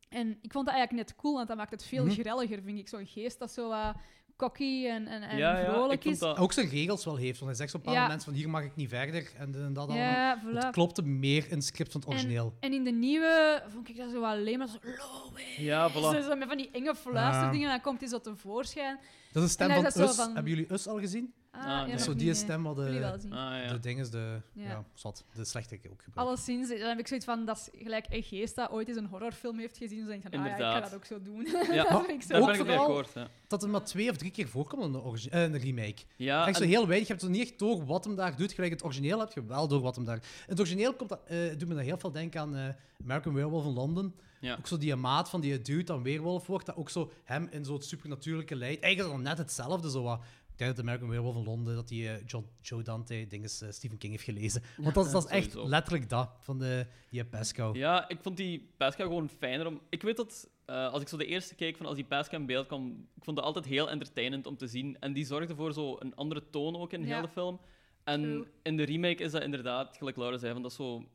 En ik vond dat eigenlijk net cool, want dat maakt het veel Mhm. grelliger, vind ik. Zo'n geest dat zo wat cocky en, en, en ja, ja, ik vrolijk vond is. dat... Ook zijn regels wel heeft. Want hij zegt op een bepaald Ja. moment van, hier mag ik niet verder. En, dit en dat allemaal. Ja, Het voilà. klopte meer in het script van het origineel. En in de nieuwe vond ik dat zo wel alleen maar zo... Lois. Ja, Zo, voilà. zo met van die enge fluisterdingen, en dan komt hij zo tevoorschijn. dat is de stem en hij van is dat zo Us. van- Hebben jullie Us al gezien? Ah, Ah, nee. ja, nog Zo nog die niet, nee. stem eh, wat Jullie wel de, zien. Ah, ja. de ding is, de, ja. Ja. zat, de slechte ook gebruikt. Alleszins, eh, dan heb ik zoiets van, dat is gelijk een geest dat ooit eens een horrorfilm heeft gezien. Dus dan denk ik van, ah, ja, ik ga Inderdaad. dat ook zo doen. Ja, oh, dat vind ik zo Oh, Daar ben ik mee vooral- akkoord. Ja, Dat er maar twee of drie keer voorkomt in de, origi- eh, in de remake. ja Echt zo Ah, en- heel weinig. Je hebt er niet echt door wat hem daar doet. Gelijk het origineel heb je wel door wat hem daar... In het origineel komt dat, eh, doet me dat heel veel denken aan eh, American Werewolf in London. Ja. Ook zo die maat van die dude dan weerwolf wordt, dat ook zo hem in zo'n supernatuurlijke leidt. Eigenlijk is dat net hetzelfde. Zo wat. Ik denk dat American Werewolf in Londen, dat die eh, John, Joe Dante, ik denk eens, eh, Stephen King heeft gelezen. Want dat, is- dat is echt sowieso. letterlijk dat, van de, die Pascal. Ja, ik vond die Pascal gewoon fijner om... Ik weet dat, eh, als ik zo de eerste keek van als die Pascal in beeld kwam, ik vond dat altijd heel entertainend om te zien. En die zorgde voor zo een andere toon ook in heel Ja. de film. En True. in de remake is dat inderdaad, gelijk Laura zei, van dat is zo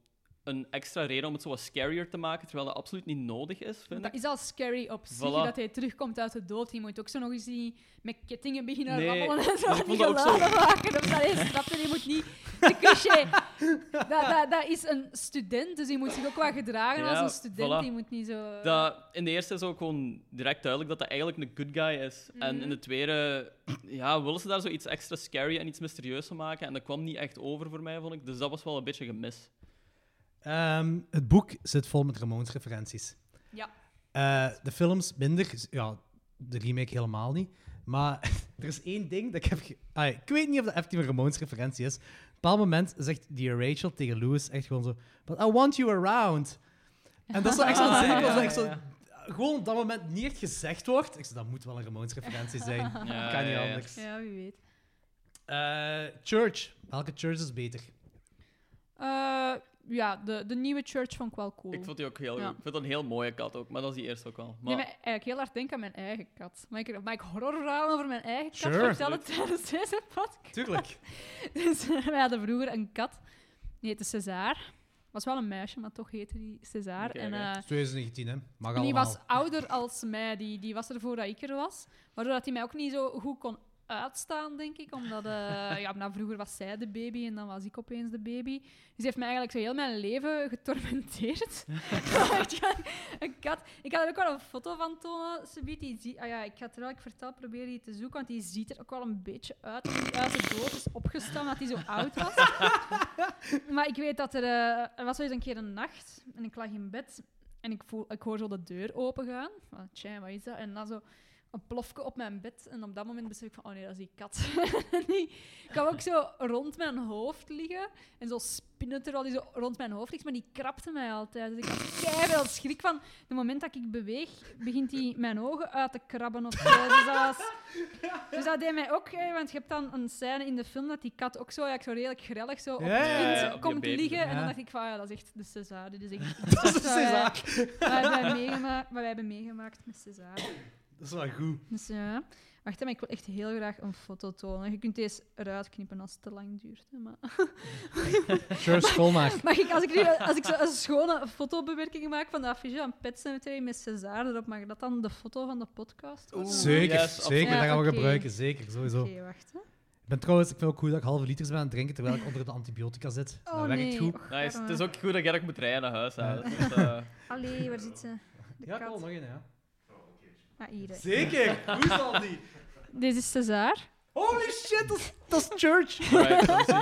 een extra reden om het zo wat scarier te maken, terwijl dat absoluut niet nodig is, vind Dat ik. is al scary op zich, Voilà. dat hij terugkomt uit de dood. Je moet ook zo nog eens die met kettingen beginnen Nee, rammelen en zo. dus ik die vond dat ook zo- geluiden maken. Of dat is, dat, je moet niet... De cliché. dat, dat, dat is een student, dus je moet zich ook wel gedragen Ja, als een student. voilà. Je moet niet zo... Dat, in de eerste is ook gewoon direct duidelijk dat dat eigenlijk een good guy is. En in de tweede ja, willen ze daar zo iets extra scary en iets mysterieus van maken. En dat kwam niet echt over voor mij, vond ik. Dus dat was wel een beetje gemis. Ehm, het boek zit vol met Ramones-referenties. Ja. Eh, de films minder. Z- Ja, de remake helemaal niet. Maar er is één ding dat ik heb... ge- Ah, ik weet niet of dat effectief een Ramones-referentie is. Op een bepaald moment zegt die Rachel tegen Louis echt gewoon zo... But I want you around. En dat is wel echt zo'n Ah, zin ja, dat ja, echt zo... ja. Gewoon op dat moment niet echt gezegd wordt. Ik zeg, dat moet wel een Ramones-referentie zijn. Ja, kan niet ja, ja. anders. Ja, wie weet. Eh, church. Welke church is beter? Eh, ja, de, de nieuwe church vond ik wel cool. Ik vond die ook heel Ja. goed. Ik vind dat een heel mooie kat ook, maar dat is die eerste ook al. Nee, Maar, maar eigenlijk heel hard denken aan mijn eigen kat. Mag ik, mag ik horrorverhalen over mijn eigen kat Sure. vertellen tijdens deze podcast? Tuurlijk. Dus eh, wij hadden vroeger een kat. Die heette César. Was wel een meisje, maar toch heette die César. Oké, en oké. eh, 2019, hè. Mag die allemaal. was ouder als mij. Die, die was er voordat ik er was. Waardoor dat hij mij ook niet zo goed kon uitstaan, denk ik. Omdat eh, ja, nou, vroeger was zij de baby en dan was ik opeens de baby. Dus die heeft mij eigenlijk zo heel mijn leven getormenteerd. Echt gewoon een kat. Ik ga er ook wel een foto van tonen. Subiet, die zie- ah, ja, ik ga terwijl ik vertel proberen die te zoeken, want die ziet er ook wel een beetje uit. Die uit de dood is opgestaan dat hij zo oud was. maar ik weet dat er... eh, er was eens een keer een nacht en ik lag in bed en ik, voel, ik hoor zo de deur opengaan. Van, tja, wat is dat? En dan zo een plofke op mijn bed. En op dat moment besef ik van, oh nee, dat is die kat. En die kwam ook zo rond mijn hoofd liggen. En zo spinnen terwijl die zo rond mijn hoofd ligt. Maar die krapte mij altijd. Dus ik had keihard schrik van, het moment dat ik beweeg, begint hij mijn ogen uit te krabben of zo. Dus dat, was, dus dat deed mij ook... eh, Want je hebt dan een scène in de film dat die kat ook zo, eigenlijk zo redelijk grellig zo op Ja, ja, het kind ja, op je komt baby. liggen. En Ja. dan dacht ik van, ja, dat is echt de Dus César. Dit is echt... Dat is een eh, César. Wat hebben wij meegemaakt, wat wij hebben meegemaakt met César. Dat is wel goed. Dus ja. Wacht, hè, maar ik wil echt heel graag een foto tonen. Je kunt deze eruit knippen als het te lang duurt. hè, Maar... Sure, schoonmaak. Mag ik, als ik, nu, als ik zo een schone fotobewerking maak van de affiche aan Pet Cemetery met César erop, mag dat dan de foto van de podcast worden? Oeh. Zeker, Yes, zeker. absoluut. dat gaan we Ja, oké. gebruiken, zeker, sowieso. Oké, wacht. Hè. Ik ben trouwens, ik vind ook goed dat ik halve liters ben aan het drinken terwijl ik onder de antibiotica zit. Oh, dat nee. werkt goed. Och, Nice. arme. Nou, Het is ook goed dat jij ook moet rijden naar huis. hè. Ja. Dat is, eh, Allee, waar zit ze? De Ja, ik wil kat. nog één, ja. Ah, hier. hè. Zeker! Hoe zal die? Dit is César. Holy shit, dat is, dat is Church! alright, dat is-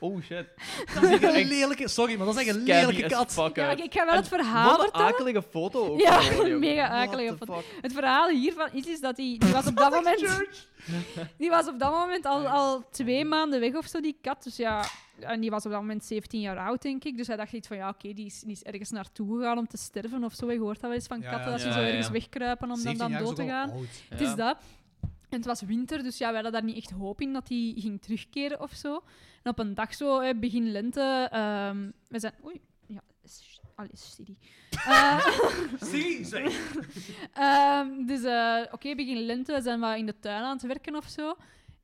oh shit. Dat is echt een lelijke... Sorry, maar dat is echt een lelijke Scabby as kat. fuck Ja, uit. ik ik ga wel En het verhaal Wat een vertellen. akelige foto ook. Ja, gewoon, joh. mega What akelige the foto. fuck? Het verhaal hiervan is, is dat die, die was op dat moment... Die was op dat moment al, al twee maanden weg of zo, die kat. Dus ja, en die was op dat moment 17 jaar oud, denk ik. Dus hij dacht iets van, ja, oké, die, is, die is ergens naartoe gegaan om te sterven of zo. Je hoort dat wel eens van Ja, katten, ja. dat ze Ja, zo ja, ergens ja. wegkruipen om dan, 17 dan jaar is dood te ook al gaan. oud. Het is Ja. dat. En het was winter, dus ja, wij hadden daar niet echt hoop in dat hij ging terugkeren of zo. En op een dag zo, hè, begin lente, ehm, we zijn... Oei, ja, s- allee, Siri. Eh, Zie, zeg. ehm, dus eh, oké, begin lente zijn we in de tuin aan het werken of zo.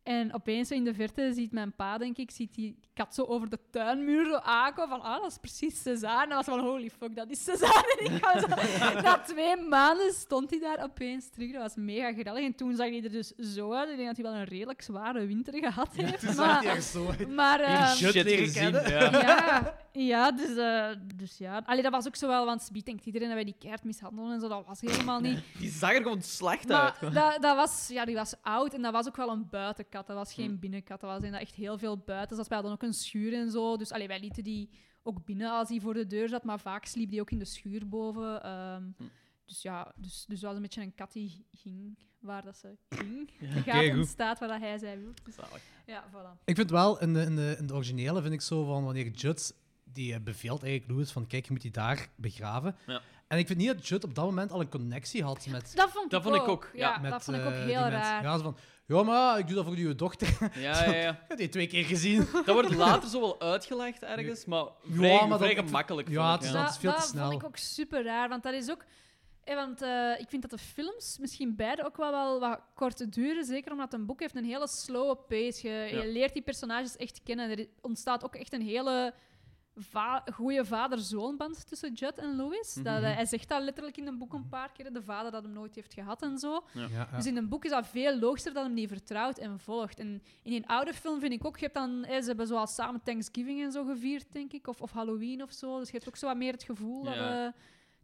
En opeens zo in de verte ziet mijn pa, denk ik, ziet die kat zo over de tuinmuur zo aankomen. Van, ah, dat is precies Cezanne. En dan was van, holy fuck, dat is Cezanne. En ik was zo- na twee maanden stond hij daar opeens terug. Dat was mega geweldig. En toen zag hij er dus zo uit. Ik denk dat hij wel een redelijk zware winter gehad heeft. Toen zag die maar echt zo uit. maar ehm, shit leren kennen. ja. ja, ja, dus, eh, dus ja. Allee, dat was ook zo wel, want Speed denkt iedereen dat wij die keihard mishandelen en zo. Dat was helemaal niet. Die zag er gewoon slecht uit. Maar dat, dat was, ja, die was oud en dat was ook wel een buitenkat. Dat was Hmm. geen binnenkat. Dat was inderdaad echt heel veel buiten. Dus wij hadden ook een schuur en zo. Dus allee, wij lieten die ook binnen als hij voor de deur zat. Maar vaak sliep die ook in de schuur boven. ehm. Hmm. Dus ja, dus, dus dat was een beetje een kat die ging waar dat ze ging. De Oké, gaat goed. ontstaat waar dat hij zei wil. Dus, Zalig. ja, voilà. Ik vind wel, in de, in, de, in de originele vind ik zo van wanneer Judd die eh, beveelt eigenlijk Louis van kijk, je moet die daar begraven. Ja. En ik vind niet dat Judd op dat moment al een connectie had met... Dat vond ik, Dat vond ik ook, ja. Ja, met dat vond ik ook eh, die heel mensen. raar. Ja, zo van, ja, maar ik doe dat voor uw dochter. Ik Ja, ja, ja. heb die twee keer gezien. Dat wordt later zo wel uitgelegd ergens, maar vrij, maar vrij dat- gemakkelijk. ja, vond ik, het is dat- veel te snel. vond ik ook super raar, want dat is ook... eh, want eh, ik vind dat de films misschien beide ook wel, wel wat kort duren. Zeker omdat een boek heeft een hele slow pace. Je, je leert die personages echt kennen. Er ontstaat ook echt een hele va goede vader-zoonband tussen Judd en Louis. dat, eh, hij zegt dat letterlijk in een boek een paar keer. De vader dat hem nooit heeft gehad en zo. Ja, ja. Dus in een boek is dat veel logischer dat hem die vertrouwt en volgt. En in een oude film vind ik ook, je hebt dan, eh, ze hebben zoal samen Thanksgiving en zo gevierd, denk ik, of, of Halloween of zo. Dus je hebt ook zo wat meer het gevoel dat, Ja. eh, In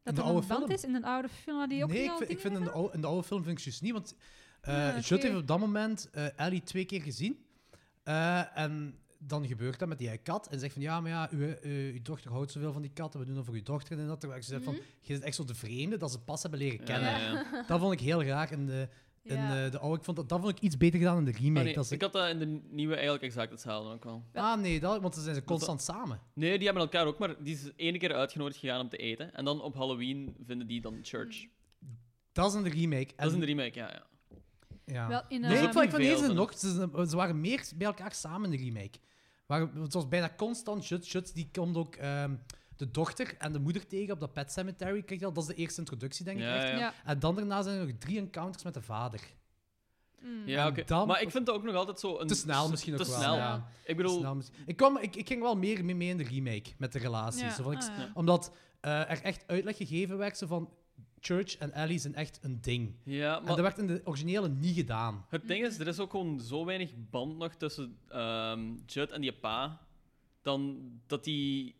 dat de er oude een band film? is. In een oude film had die ook nee, niet ik al vind, ik dingen vind in, de gedaan? oude, in de oude film vind ik juist niet, want eh Ah, Judd oké. heeft op dat moment eh Ellie twee keer gezien. Eh, en dan gebeurt dat met die kat. En zegt van, ja, maar ja, uw, eh, uw dochter houdt zoveel van die kat. En we doen dat voor uw dochter. En dat terwijl ze zegt Mhm. van, je bent echt zo de vreemde dat ze pas hebben leren ja. kennen. Ja, ja, ja. Dat vond ik heel raar in de, in, Ja. eh, de oude. Ik vond dat, dat vond ik iets beter gedaan in de remake. Ah, nee, dat ze, ik had dat in de nieuwe eigenlijk exact hetzelfde ook wel. Ah nee, dat, want ze zijn ze constant samen. Nee, die hebben elkaar ook, maar die is ene keer uitgenodigd gegaan om te eten. En dan op Halloween vinden die dan church. Dat is in de remake. Dat is in de Mm. En- remake, ja. ja. ja. Wel, in, Nee, ehm, ik vond, ik vond deze Beelden. nog. Ze, ze waren meer bij elkaar samen in de remake. Waar, het was bijna constant Shuts. Shuts die komt ook ehm, de dochter en de moeder tegen op dat Pet Cemetery. Kijk, dat is de eerste introductie, denk ik. Ja, echt. ja. ja. En dan daarna zijn er nog drie encounters met de vader. Ja, En oké. dan- Maar ik vind dat ook nog altijd zo... Een, Te snel misschien te ook wel, snel. ja. Ik bedoel, Snel misschien- ik, kwam, ik, ik ging wel meer mee mee in de remake met de relaties. Ja, Zo van, ik- ah, ja. Omdat eh, er echt uitleg gegeven werd zo van Church en Ellie zijn echt een ding. ja, En maar dat werd in de originele niet gedaan. het ding is, er is ook gewoon zo weinig band nog tussen ehm, Judd en die pa, dan dat die...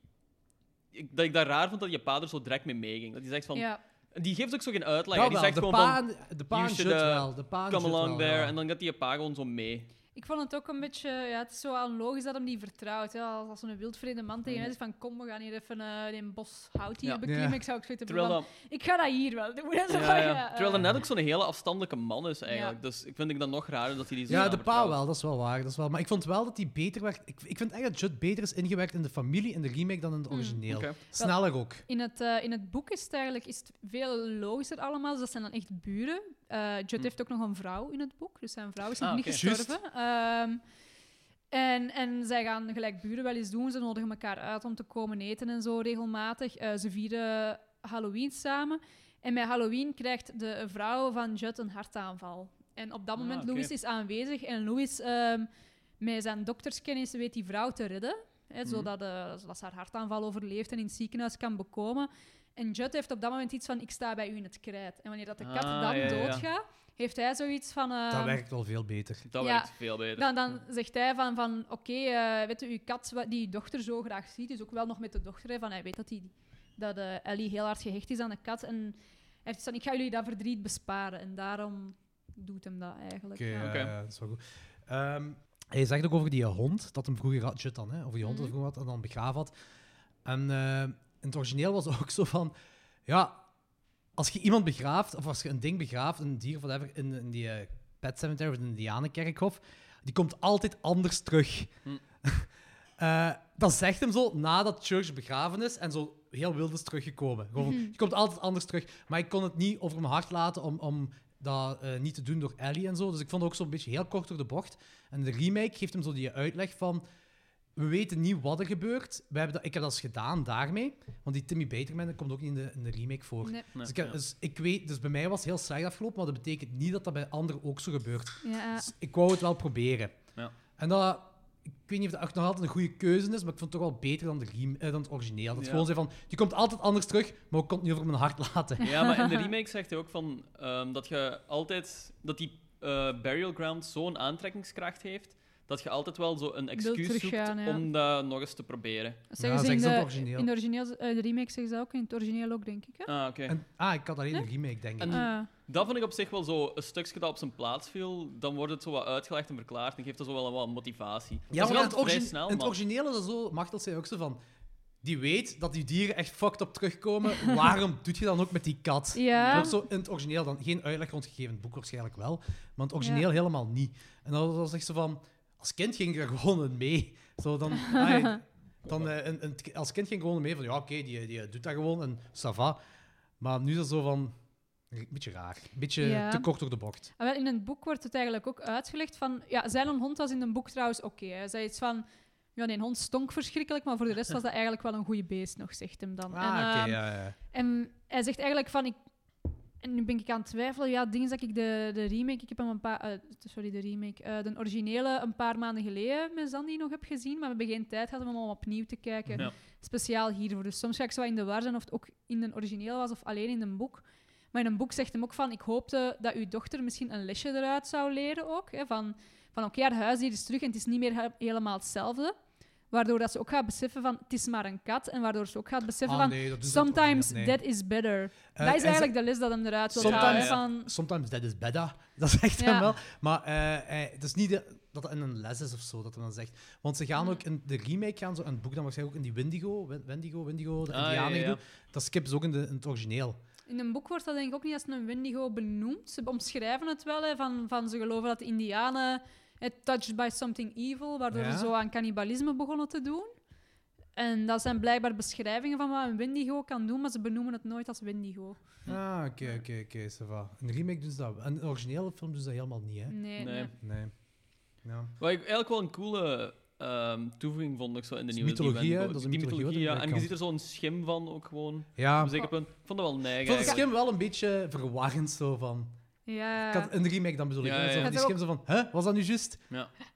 Ik, dat ik dat raar vond dat je pa er zo direct mee meeging. Dat hij zegt van... Ja. Die geeft ook zo geen uitleg. Ja, die wel, zegt de gewoon pa van... en- de pa "You en should, Judd eh, wel. De pa en Come Judd along wel, there. ja. En dan gaat die pa gewoon zo mee. Ik vond het ook een beetje... Ja, het is zo al logisch dat hem die vertrouwt. Hè. Als, als een wildvreemde man tegen mij zegt van kom, we gaan hier even eh in een bos hout hier Ja. beklimmen. Ja. Ik zou ook zoiets hebben Terwijl van, dat... Ik ga dat hier wel doen. En zo Ja, van, ja. ja, eh. Terwijl dat net ook zo'n hele afstandelijke man is, eigenlijk. Dus ik vind ik dan nog raar dat hij die zo Ja, snel de pa vertrouwt. wel, dat is wel waar. Dat is wel. Maar ik vond wel dat die beter werd. Ik, ik vind echt dat Judd beter is ingewerkt in de familie in de remake dan in het origineel. Oké. Sneller ook. In het, eh, in het boek is het eigenlijk is het veel logischer allemaal. Dus dat zijn dan echt buren. Eh Judd heeft ook nog een vrouw in het boek. Dus zijn vrouw is nog Hm. Ah, niet oké. gestorven. Ehm, en, en zij gaan gelijk buren wel eens doen. Ze nodigen elkaar uit om te komen eten en zo regelmatig. Eh, ze vieren Halloween samen. En bij Halloween krijgt de vrouw van Judd een hartaanval. En op dat Ah, moment oké. Louis is aanwezig. En Louis, ehm, met zijn dokterskennis, weet die vrouw te redden. Hè, Mhm. zodat, eh, zodat ze haar hartaanval overleeft en in het ziekenhuis kan bekomen. En Judd heeft op dat moment iets van: Ik sta bij u in het krijt. En wanneer dat de kat Ah, dan ja, ja, ja. doodgaat, heeft hij zoiets van... eh, dat werkt wel veel beter. Dat Ja. werkt veel beter. Dan, dan zegt hij van, van oké, eh, weet je, uw kat wa- die uw dochter zo graag ziet, is ook wel nog met de dochter. hè, Van, hij weet dat, die, dat eh, Ellie heel hard gehecht is aan de kat. En hij heeft van, ik ga jullie dat verdriet besparen. En daarom doet hem dat eigenlijk. Oké, eh, ja. ja, Oké. ja, dat is wel goed. Ehm, hij zegt ook over die eh, hond, dat hem vroeger had, shit dan, hè, over die hond dat Mhm. vroeger had en dan begraven had. En eh, in het origineel was het ook zo van, ja, als je iemand begraaft, of als je een ding begraaft, een dier of whatever, in, in die eh, pet cemetery of in een indianenkerkhof, die komt altijd anders terug. Hm. Eh, dat zegt hem zo nadat Church begraven is en zo heel wild is teruggekomen. Gewoon, van, Je komt altijd anders terug. Maar ik kon het niet over mijn hart laten om, om dat eh, niet te doen door Ellie en zo. Dus ik vond het ook zo'n beetje heel kort door de bocht. En de remake geeft hem zo die uitleg van... We weten niet wat er gebeurt. We hebben dat, ik heb dat eens gedaan daarmee. Want die Timmy Baterman komt ook niet in de, in de remake voor. Nee. Nee, Dus, ik, heb- ja. dus ik weet, dus bij mij was het heel slecht afgelopen, maar dat betekent niet dat dat bij anderen ook zo gebeurt. Ja. Dus ik wou het wel proberen. Ja. En dat, ik weet niet of dat echt nog altijd een goede keuze is, maar ik vond het toch wel beter dan, de riem, eh, dan het origineel. Dat Ja. gewoon zei van, die komt altijd anders terug, maar ik kon het niet over mijn hart laten. Ja, maar in de remake zegt hij ook van, ehm, dat je altijd dat die eh, burial ground zo'n aantrekkingskracht heeft dat je altijd wel zo een excuus zoekt teruggaan, ja. om dat nog eens te proberen. Dat Ja, zeggen ze zeggen in ze in de, het origineel. in de, origineel, eh, de remake zeggen ze dat ook, in het origineel ook, denk ik. Hè? Ah, oké. En, ah, ik had alleen de remake, denk ik. En- Ah. Dat vond ik op zich wel zo een stukje dat op zijn plaats viel. Dan wordt het zo wat uitgelegd en verklaard en geeft dat zo wel wat motivatie. ja, dat is want wel in het, vrij origi- snel, in het maar- origineel is dat zo, Machtel zei ook zo van, die weet dat die dieren echt fucked op terugkomen, waarom doet je dan ook met die kat? Ja. Er wordt zo in het origineel dan geen uitleg rondgegeven, in het boek waarschijnlijk wel, maar in het origineel helemaal niet. En dat was echt zo van, als kind ging ik er gewoon in mee. Zo dan, ai, dan, eh, en- en het- als kind ging ik gewoon mee van, ja oké, die, die doet dat gewoon en ça va. Maar nu is dat zo van, een beetje raar, een beetje Ja. te kort door de bocht. Ah, wel, in het boek wordt het eigenlijk ook uitgelegd van... Ja, zijn een hond was in een boek trouwens oké. Hij zei iets van... Ja, nee, een hond stonk verschrikkelijk, maar voor de rest was dat eigenlijk wel een goede beest nog, zegt hem dan. Ah, en, oké, ehm, ja, ja. en hij zegt eigenlijk van... Ik, en nu ben ik aan het twijfelen. Ja, het ding is dat ik de, de remake... Ik heb hem een paar... eh, sorry, de remake. eh, de originele een paar maanden geleden met Zandy nog heb gezien, maar we hebben geen tijd gehad om hem al opnieuw te kijken. Ja. Speciaal hiervoor. Dus soms ga ik zo wat in de war zijn of het ook in de origineel was of alleen in een boek. Maar in een boek zegt hem ook van... Ik hoopte dat uw dochter misschien een lesje eruit zou leren ook. Hè, van van oké, haar huisdier is terug en het is niet meer he- helemaal hetzelfde. Waardoor dat ze ook gaat beseffen van... Het is maar een kat. En waardoor ze ook gaat beseffen Ah, van... nee, dat is het Sometimes origineel, nee. that is better. Eh, dat en is ze- eigenlijk de les dat hem eruit wil Sometimes- halen, Ja, van... Sometimes that is better. Dat zegt Ja. hem wel. Maar eh, hij- het is niet de- dat het in een les is of zo dat hij dan zegt. Want ze Mm. gaan ook in de remake gaan, zo, en het boek dan waarschijnlijk ook in die Wendigo, Wen- Wendigo, Wendigo, de Ah, ja, Indianen ja, ja. doen. Dat skip is ook in, de, in het origineel. In een boek wordt dat denk ik ook niet als een Wendigo benoemd. Ze omschrijven het wel, hè, van, van ze geloven dat de indianen... eh, touched by something evil, waardoor Ja. ze zo aan cannibalisme begonnen te doen. En dat zijn blijkbaar beschrijvingen van wat een Wendigo kan doen, maar ze benoemen het nooit als Wendigo. Ah, oké, oké, oké, ça va. In de remake doen ze dat. En in de originele film doen ze dat helemaal niet, hè? Nee. Nee, nee. Nee. Ja. Wat ik eigenlijk wel een coole ehm, toevoeging vond ik zo in de is nieuwe die mythologie, Wendigo- hè? Dat is een die mythologie wat mythologie, ja. erbij En je komt. ziet er zo'n schim van ook gewoon. ja. Op een zeker punt. Ik vond dat wel Ik neig vond het eigenlijk. schim wel een beetje verwarrend, zo van... Ja, Ik had, in de remake dan bedoel ik. Ja, hè, ja, zo ja. van die schim zo van, hè, was dat nu juist?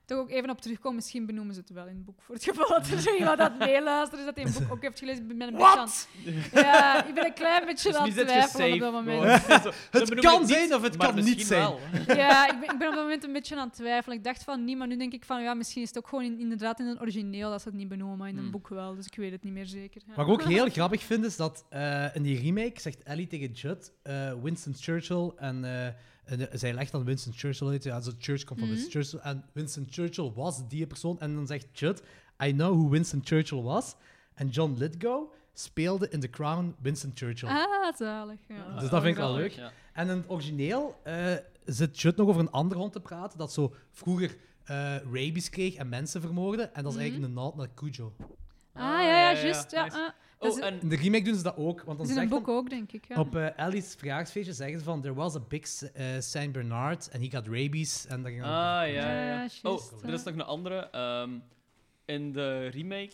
toch ook even op terugkomen. Misschien benoemen ze het wel in het boek. Voor het geval dat er zo iemand aan het meeluisteren is dat hij een boek ook heeft gelezen. Ik ben een beetje aan het- Ja, ik ben een klein beetje aan het Dus zit je twijfelen op dat safe, moment. gewoon. Zo, ze Het benoemen kan niet, zijn of het maar kan niet misschien zijn. wel. Ja, ik ben, ik ben op dat moment een beetje aan het twijfelen. Ik dacht van niet, maar nu denk ik van ja, misschien is het ook gewoon in- inderdaad in het origineel dat ze het niet benoemen, maar in een Hmm. boek wel. Dus ik weet het niet meer zeker. Ja. Wat ik ook heel grappig vind, is dat eh, in die remake zegt Ellie tegen Judd, eh, Winston Churchill, en, eh, en, eh, zij legt dan Winston Churchill uit, ja, zo Church komt van Winston Churchill, en Winston Churchill was die persoon, en dan zegt Judd, I know who Winston Churchill was, en John Lithgow speelde in The Crown Winston Churchill. Ah, zalig. Ja. Dus dat vind ik wel leuk. Ja. En in het origineel eh, zit Judd nog over een andere hond te praten, dat zo vroeger eh, rabies kreeg en mensen vermoorde, en dat is eigenlijk een naald naar Cujo. Ah, ja, ja, ja, juist. Ja, nice. ah. Dat Oh, is- en In de remake doen ze dat ook, want dan dat is in zegt dan- een boek ook, denk ik. Ja. Op eh, Ellie's verjaarsfeestje zeggen ze van... There was a big S- eh, Saint Bernard and he got rabies. En dat ging Ah, dan- ja, Ja, ja. ja. juist, Oh, er ja. is nog een andere. ehm, in de remake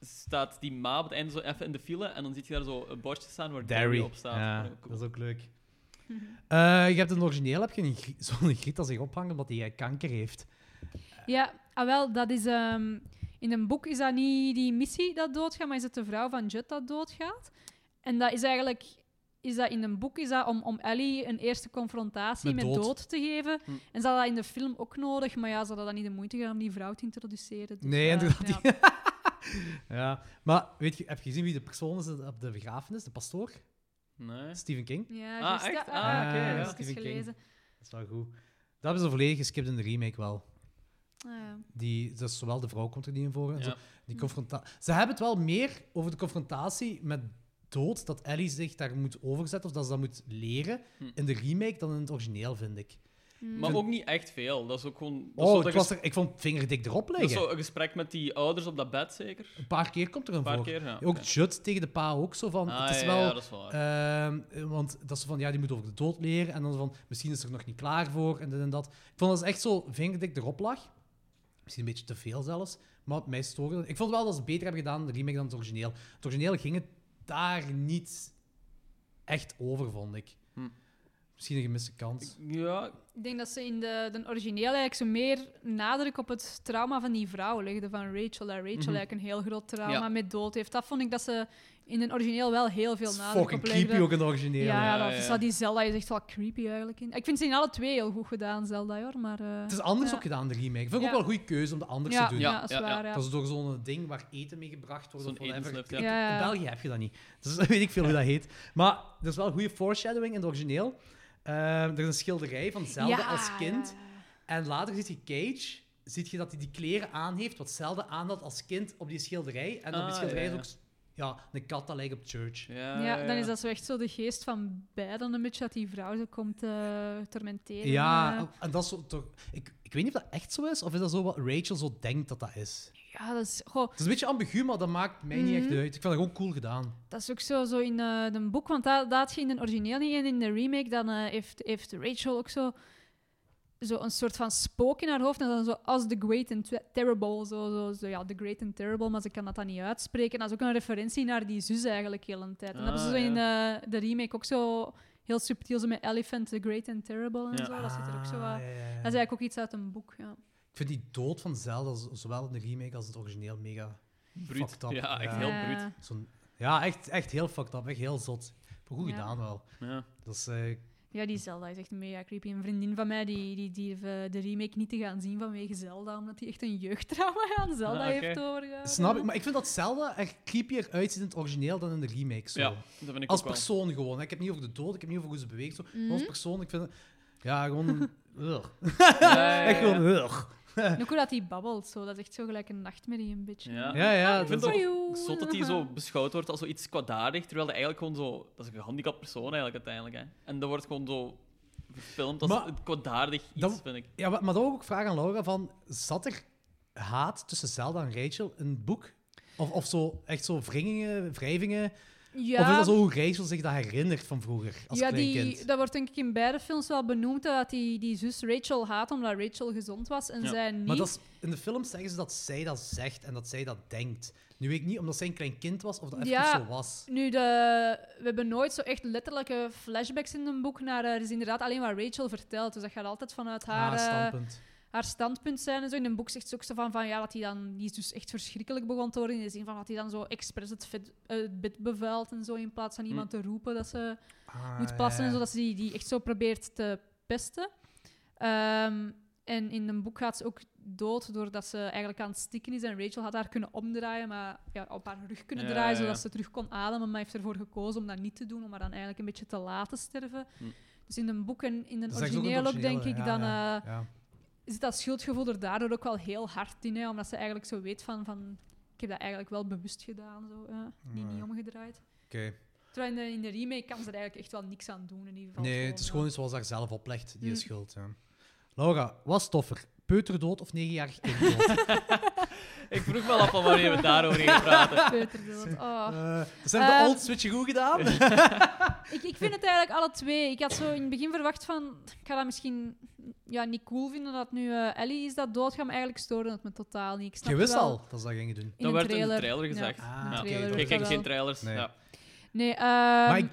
staat die ma op het einde zo even in de file en dan ziet je daar zo een bordje staan waar Derry, Derry. op staat. Ja, Oh, cool. Dat is ook leuk. Eh, je hebt in het origineel heb je een grie- zo'n griet dat zich ophangt omdat hij eh, kanker heeft. Ja, ah, wel, dat is. ehm, in een boek is dat niet die missie dat doodgaat, maar is het de vrouw van Jut dat doodgaat. En dat is eigenlijk. is dat in een boek is dat om, om Ellie een eerste confrontatie Met met, dood. Hm. dood. te geven. En ze hadden dat in de film ook nodig, maar ja, ze hadden dat niet de moeite gedaan om die vrouw te introduceren. Dus, Nee, eh, inderdaad. ja. Ja. ja. Maar weet je, heb je gezien wie de persoon is op de begrafenis? De pastoor? Nee. Stephen King. Ja, Ah, juist, ja, echt? ah, Ah, ah, oké, ik heb ja. het ook eens Stephen King. gelezen. Dat is wel goed. Dat hebben ze volledig geskipt in de remake wel. Ah, ja. Die, dus zowel de vrouw komt er niet in voor. En Ja. zo. Die confronta- ze hebben het wel meer over de confrontatie met dood, dat Ellie zich daar moet overzetten of dat ze dat moet leren Hm. in de remake dan in het origineel, vind ik. Mm. Maar ook niet echt veel. Dat is ook gewoon... Dat is zo Oh, dat ik, was er, ik vond het vingerdik erop Dat is liggen. zo een gesprek met die ouders op dat bed, zeker? Een paar keer komt er een Een paar voor. keer, ja. Ook Oké. Judd tegen de pa ook zo van. Ah, het is ja, wel ja, dat is waar. Ehm, eh, want dat ze van, ja, die moet over de dood leren. En dan van, misschien is ze er nog niet klaar voor. En dit en dat. Ik vond dat ze echt zo vingerdik erop lag. Misschien een beetje te veel zelfs. Maar mij stoorde dat. Ik vond wel dat ze het beter hebben gedaan, de remake, dan het origineel. Het origineel ging het daar niet echt over, vond ik. Hm. Misschien een gemiste kans. ja, Ik denk dat ze in de, de origineel eigenlijk zo meer nadruk op het trauma van die vrouw legden, van Rachel. Dat Rachel Mhm. eigenlijk een heel groot trauma Ja. met dood heeft. Dat vond ik dat ze in de origineel wel heel veel Het is nadruk fucking op creepy legden. ook in het origineel. Ja, Ja, dat ja, is ja. dat die Zelda is echt wel creepy eigenlijk. In. Ik vind ze in alle twee heel goed gedaan, Zelda, hoor. Maar, eh, Het is anders ja. ook gedaan, de remake. Vind ik ook Ja. wel een goede keuze om de anders ja, te doen. Ja, Ja, dat is ja, ja. waar, ja. Dat is door zo'n ding waar eten mee gebracht wordt. Zo'n of whatever. etenslucht, ja. Ik- Ja, ja. In België heb je dat niet. Dus weet ik veel hoe dat heet. Maar dat is wel goede foreshadowing in het origineel. Ehm, er is een schilderij van Zelda Ja, als kind. ja, ja. En later ziet je Cage, ziet je dat hij die kleren aan heeft wat Zelda aan had als kind op die schilderij. En op Ah, die schilderij ja, ja. is ook s- ja, een kat dat lijkt op Church. ja, Eh, Ja, dan is dat zo echt zo de geest van beiden een beetje dat die vrouw zo komt eh, tormenteren. Eh, Ja, en dat is zo toch... Ik, ik weet niet of dat echt zo is, of is dat zo wat Rachel zo denkt dat dat is. ja, dat is... Goh, Het is een beetje ambigu, maar dat maakt mij niet echt Mhm. uit. Ik vind dat gewoon cool gedaan. Dat is ook zo, zo in eh een boek, want dat, dat had je in de origineel niet en in de remake dan eh, heeft, heeft Rachel ook zo, zo een soort van spook in haar hoofd en dan zo als The Great and Te- Terrible, zo, zo, zo, ja, The Great and Terrible, maar ze kan dat dan niet uitspreken. Dat is ook een referentie naar die zus eigenlijk heel een tijd. En dat hebben ze Ah, zo in eh, de remake ook zo heel subtiel, zo met Elephant, The Great and Terrible en Ja. zo. Oh, Dat zit er ook zo wat- Ah, ja, ja, ja. Dat is eigenlijk ook iets uit een boek, ja. Ik vind die dood van Zelda, z- zowel in de remake als in het origineel, mega bruut. fucked up. Ja, echt Ja. heel Ja. bruut. zo'n- Ja, echt, echt heel fucked up, echt heel zot. Maar goed Ja. gedaan wel. Ja. Dat is, eh, Ja, die Zelda is echt mega creepy. Een vriendin van mij die, die, die heeft, eh, de remake niet te gaan zien vanwege Zelda, omdat hij echt een jeugdtrauma aan Zelda Ah, oké. heeft overgehouden. snap ik, maar ik vind dat Zelda er creepier uitziet in het origineel dan in de remake. Zo. ja, dat vind ik als ook wel. persoon gewoon. hè. Ik heb niet over de dood, ik heb niet over hoe ze beweegt. Zo. Maar Als persoon, ik vind het... Ja, gewoon... een- Ugh. Ja, ja, Echt ja. gewoon... Ugh. En ook hoe dat hij babbelt, zo. dat is echt zo gelijk een nachtmerrie een beetje. Ja. Ja, ja. Ik dat vind is- het Oei, ook oei. zot dat hij zo beschouwd wordt als zoiets kwaadaardig, terwijl hij eigenlijk gewoon zo... Dat is een gehandicapt persoon eigenlijk uiteindelijk, hè. En dat wordt gewoon zo verfilmd als Maar- een kwaadaardig iets, Dan- vind ik. Ja, maar maar dat wil ik ook vragen aan Laura. Van, zat er haat tussen Zelda en Rachel in het boek? Of, of zo, echt zo wringingen, wrijvingen? Ja, Of is dat zo hoe Rachel zich dat herinnert van vroeger, als ja, klein die, kind? dat wordt denk ik in beide films wel benoemd, dat die, die zus Rachel haat omdat Rachel gezond was en Ja. zij niet. Maar dat is, in de film zeggen ze dat zij dat zegt en dat zij dat denkt. Nu weet ik niet, omdat zij een klein kind was, of dat echt Ja. zo was. Nu, de, we hebben nooit zo echt letterlijke flashbacks in een boek naar... eh, Er is inderdaad alleen wat Rachel vertelt, dus dat gaat altijd vanuit haar... ah, eh, standpunt. haar standpunt zijn en zo. In een boek zegt ze ook zo van, van ja, dat hij dan, die is dus echt verschrikkelijk begon te worden. In de zin van dat hij dan zo expres het, vet, eh, het bed bevuilt en zo. In plaats van iemand te roepen dat ze Ah, moet plassen en ja. zo. Dat ze die, die echt zo probeert te pesten. Ehm, en in een boek gaat ze ook dood doordat ze eigenlijk aan het stikken is. En Rachel had haar kunnen omdraaien, maar ja, op haar rug kunnen Ja, draaien, ja. zodat ze terug kon ademen. Maar heeft ervoor gekozen om dat niet te doen, om haar dan eigenlijk een beetje te laten sterven. Hm. Dus in een boek en in een Dat zeggen ze ook in origineel het ook, denk ik, origineel, ja, dan... ja, eh, ja. zit dat schuldgevoel er daardoor ook wel heel hard in. Hè, omdat ze eigenlijk zo weet van, van ik heb dat eigenlijk wel bewust gedaan. Zo, ja. niet, niet omgedraaid. Oké. Terwijl in de, in de remake kan ze er eigenlijk echt wel niks aan doen. In ieder geval Nee, het is ja. gewoon iets zoals ze haar zelf oplegt, die Mm. is schuld. Ja. Laura, was toffer? Peuterdood of negenjarig kind dood? Eh, Ik vroeg wel af van wanneer we daarover gingen praten. Peuterdood. Oh. Eh, dus hebben de Eh, old switch goed gedaan? Ik, ik vind het eigenlijk alle twee. Ik had zo in het begin verwacht van... Ik ga dat misschien ja, niet cool vinden dat nu eh, Ellie is dat doodgaat. Maar eigenlijk stoorde het me totaal niet. Ik snapte Je wist wel al dat ze dat gingen doen. In Dat een werd trailer. in de trailer Ja. gezegd. Ah, Ja. oké, trailer dat Ik wordt kijk wel- geen trailers. Nee. Ja. Nee, Maar ehm, ik,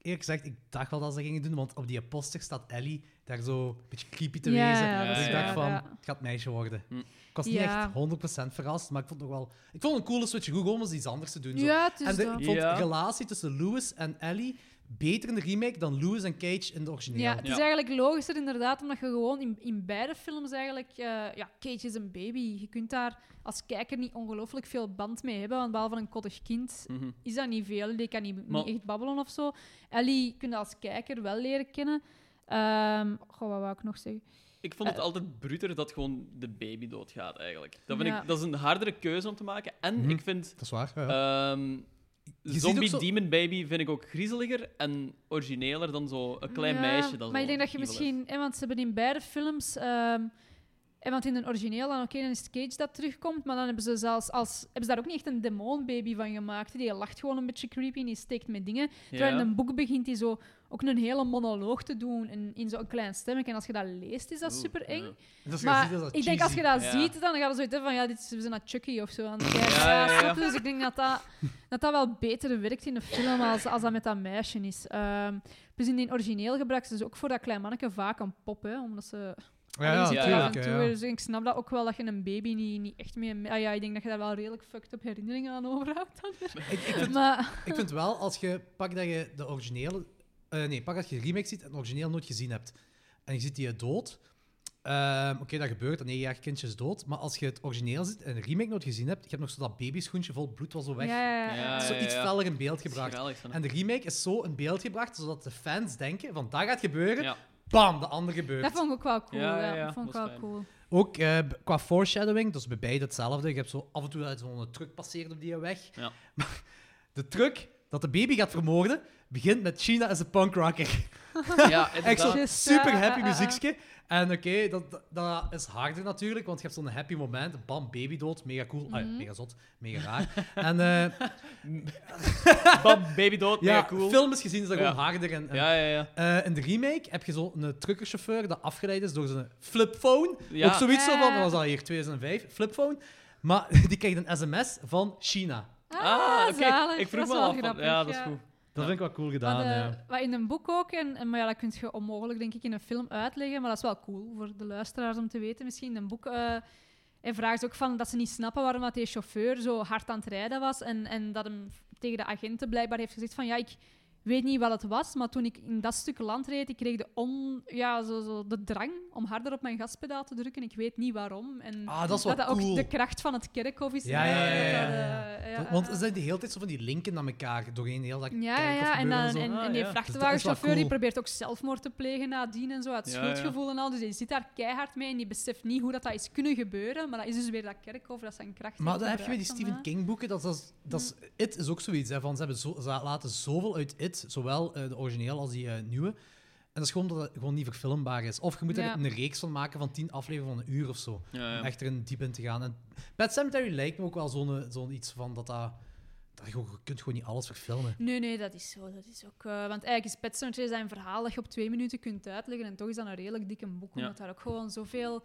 eerlijk gezegd, ik dacht wel dat ze dat gingen doen, want op die poster staat Ellie daar zo een beetje creepy te Ja, wezen. ja, dat dus is ik dacht waar, van, ja. het gaat meisje worden. Hm. Ik was niet Ja. echt 100% verrast, maar ik vond het nog wel... Ik vond het een coole switch goed om eens iets anders te doen. zo. ja, het is en de- dat. ik vond de Ja. relatie tussen Lewis en Ellie, beter in de remake dan Lewis en Cage in de origineel. Ja, het is Ja. eigenlijk logischer inderdaad, omdat je gewoon in, in beide films eigenlijk... eh, ja, Cage is een baby. Je kunt daar als kijker niet ongelooflijk veel band mee hebben, want behalve een koddig kind Mhm. is dat niet veel. Die kan niet, Maar- niet echt babbelen of zo. Ellie kun je als kijker wel leren kennen. Ehm, goh, wat wou ik nog zeggen? Ik vond het Eh. altijd bruter dat gewoon de baby doodgaat, eigenlijk. Dat, vind Ja. ik, dat is een hardere keuze om te maken. En Mhm. ik vind Dat is waar. ja, ja. ehm, ziet Zombie ook zo- Demon Baby vind ik ook griezeliger en origineler dan zo een klein Ja, meisje. Dat maar ik zo denk dat je evil is. misschien... Hè, want ze hebben in beide films... ehm, hè, want in een origineel dan, oké, dan is het Cage dat terugkomt, maar dan hebben ze zelfs als... Hebben ze daar ook niet echt een demonbaby van gemaakt. hè. Die lacht gewoon een beetje creepy en die steekt met dingen. Terwijl in Ja. een boek begint hij zo ook een hele monoloog te doen in, in zo'n klein stemmetje. En als je dat leest, is dat Oeh, super eng. ja. Dat is- Maar dat is ik denk als je cheesy. dat Ja. ziet, dan gaat het zoiets hebben van ja, dit is we zijn naar Chucky of zo. aan het kijken. Ja, ja, Ja, ja. snap je? Dus ik denk dat dat, dat dat wel beter werkt in de film als, als dat met dat meisje is. Ehm dus in die origineel gebruiken ze dus ook voor dat klein manneke vaak een pop, hè, omdat ze Ja, ja, Ja, ja, tuurlijk, af en toe. ja, ja. Dus ik snap dat ook wel dat je een baby niet, niet echt mee. Ah, ja, ik denk dat je daar wel redelijk fucked up herinneringen aan overhoudt. dan weer. maar Ik vind wel, als je pak dat je de originele... eh, nee, pak dat je de remake ziet en het origineel nooit gezien hebt. En je ziet die dood. Ehm, Oké, dat gebeurt. Een negenjarig kindje is dood. Maar als je het origineel ziet en de remake nooit gezien hebt, je hebt nog zo dat babyschoentje vol bloed was zo weg. ja, ja, ja. Ah, Ja, Zo ja, iets ja. feller in beeld Dat is gebracht. geweldig, vind ik. En de remake is zo in beeld gebracht, zodat de fans denken van dat gaat gebeuren, Ja. bam, de ander gebeurt. Dat vond ik ook wel cool. Ja, Ja, ja, ja, Dat vond ik dat is wel fijn. cool. Ook eh, b- qua foreshadowing, dat is bij beide hetzelfde. Je hebt zo af en toe dat zo'n truck passeert op die weg. Ja. Maar de truck dat de baby gaat vermoorden, begint met China als een punkrocker. Ja, Echt inderdaad. zo'n Just, super ja, happy ja, ja, ja. muziekje. En oké, dat, dat- dat is harder natuurlijk, want je hebt zo'n happy moment. Bam, baby dood, mega cool. Ah, mega zot, mega raar. En eh, Bam, baby dood, ja, mega cool. films gezien is dat gewoon Ja. harder. En, en, Ja, ja, ja. eh, in de remake heb je zo'n truckerchauffeur dat afgeleid is door zijn flipphone. Ja. Ook zoiets zo van, Ja. wat was dat hier, 2005, flipphone. Maar die krijgt een sms van China. Ah, oké. zalig. Ik vroeg Dat me al is wel af. van- grappig, Ja, dat is ja. goed. Dat vind ik wel cool gedaan. maar, de- ja. wat in een boek ook, en, en- maar ja, dat kun je onmogelijk denk ik in een film uitleggen, maar dat is wel cool voor de luisteraars om te weten. Misschien in een boek eh hij vraagt ook van dat ze niet snappen waarom dat die chauffeur zo hard aan het rijden was en, en dat hem tegen de agenten blijkbaar heeft gezegd van ja, ik weet niet wat het was, maar toen ik in dat stuk land reed, ik kreeg de, on, ja, zo, zo, de drang om harder op mijn gaspedaal te drukken. Ik weet niet waarom. En Ah, dat is wel dat cool. ook de kracht van het kerkhof is. Ja, ja, ja, Dat, ja, ja. eh, ja, Want ja. er zijn de hele tijd zo van die linken naar elkaar doorheen heel dat Ja, ja, kerkhof ja. En, gebeuren dan, zo. Dus en, Ah, en die ja. vrachtwagenchauffeur Dat is wel die cool. probeert ook zelfmoord te plegen nadien en zo, uit Ja, schuldgevoel en al. Dus die zit daar keihard mee en die beseft niet hoe dat, dat is kunnen gebeuren. Maar dat is dus weer dat kerkhof, dat zijn kracht. Maar heeft dan heb je weer die gebruikt om, Stephen hè. King boeken. Dat is, dat eh? is, dat is- It is ook zoiets. Hè, van, ze, hebben zo, ze laten zoveel uit It, zowel eh, de origineel als die eh, nieuwe. En dat is gewoon dat het gewoon niet verfilmbaar is. Of je moet er Ja. een reeks van maken van tien afleveringen van een uur of zo. Ja, ja. Om echt erin diep in te gaan. En Pet Cemetery lijkt me ook wel zo'n eh, zo'n iets van dat dat... dat je, gewoon- je kunt gewoon niet alles verfilmen. Nee, nee, dat is zo. Dat is ook, eh, want eigenlijk is Pet Sematary zijn verhaal dat je op twee minuten kunt uitleggen. En toch is dat een redelijk dikke boek, Ja. omdat daar ook gewoon zoveel...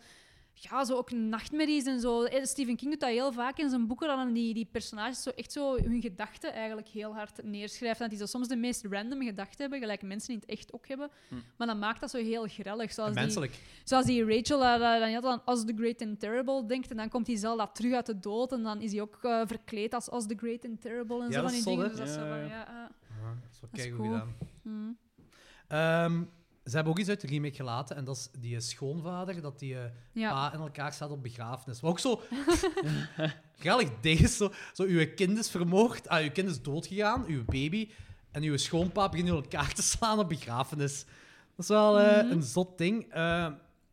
Ja, zo ook nachtmerries en zo. Eh, Stephen King doet dat heel vaak in zijn boeken, dat hij die, die personages zo echt zo hun gedachten eigenlijk heel hard neerschrijft. En dat die zo soms de meest random gedachten hebben, gelijk mensen in het echt ook hebben. Hm. Maar dan maakt dat zo heel grellig. Zoals die, Menselijk. Zoals die Rachel, eh, dat- dat net aan As the Great and Terrible denkt. En dan komt die Zelda terug uit de dood. En dan is hij ook eh, verkleed als As the Great and Terrible. En Ja, zo dat van die is zot, dingen. hè? Dus dat is zo Ja, van, ja. ja, ah. Ja, dat is wel Dat is keigoed cool. gedaan. Hmm. Ehm, ze hebben ook iets uit de remake gelaten. En dat is die eh, schoonvader, dat die... eh, Ja. pa en elkaar staat op begrafenis. Wat ook zo... Grappig ding is, zo, zo uw kind is vermoord, ah, uw kind is doodgegaan, uw baby, en uw schoonpa begint nu elkaar te slaan op begrafenis. Dat is wel eh, Mhm. een zot ding. Eh,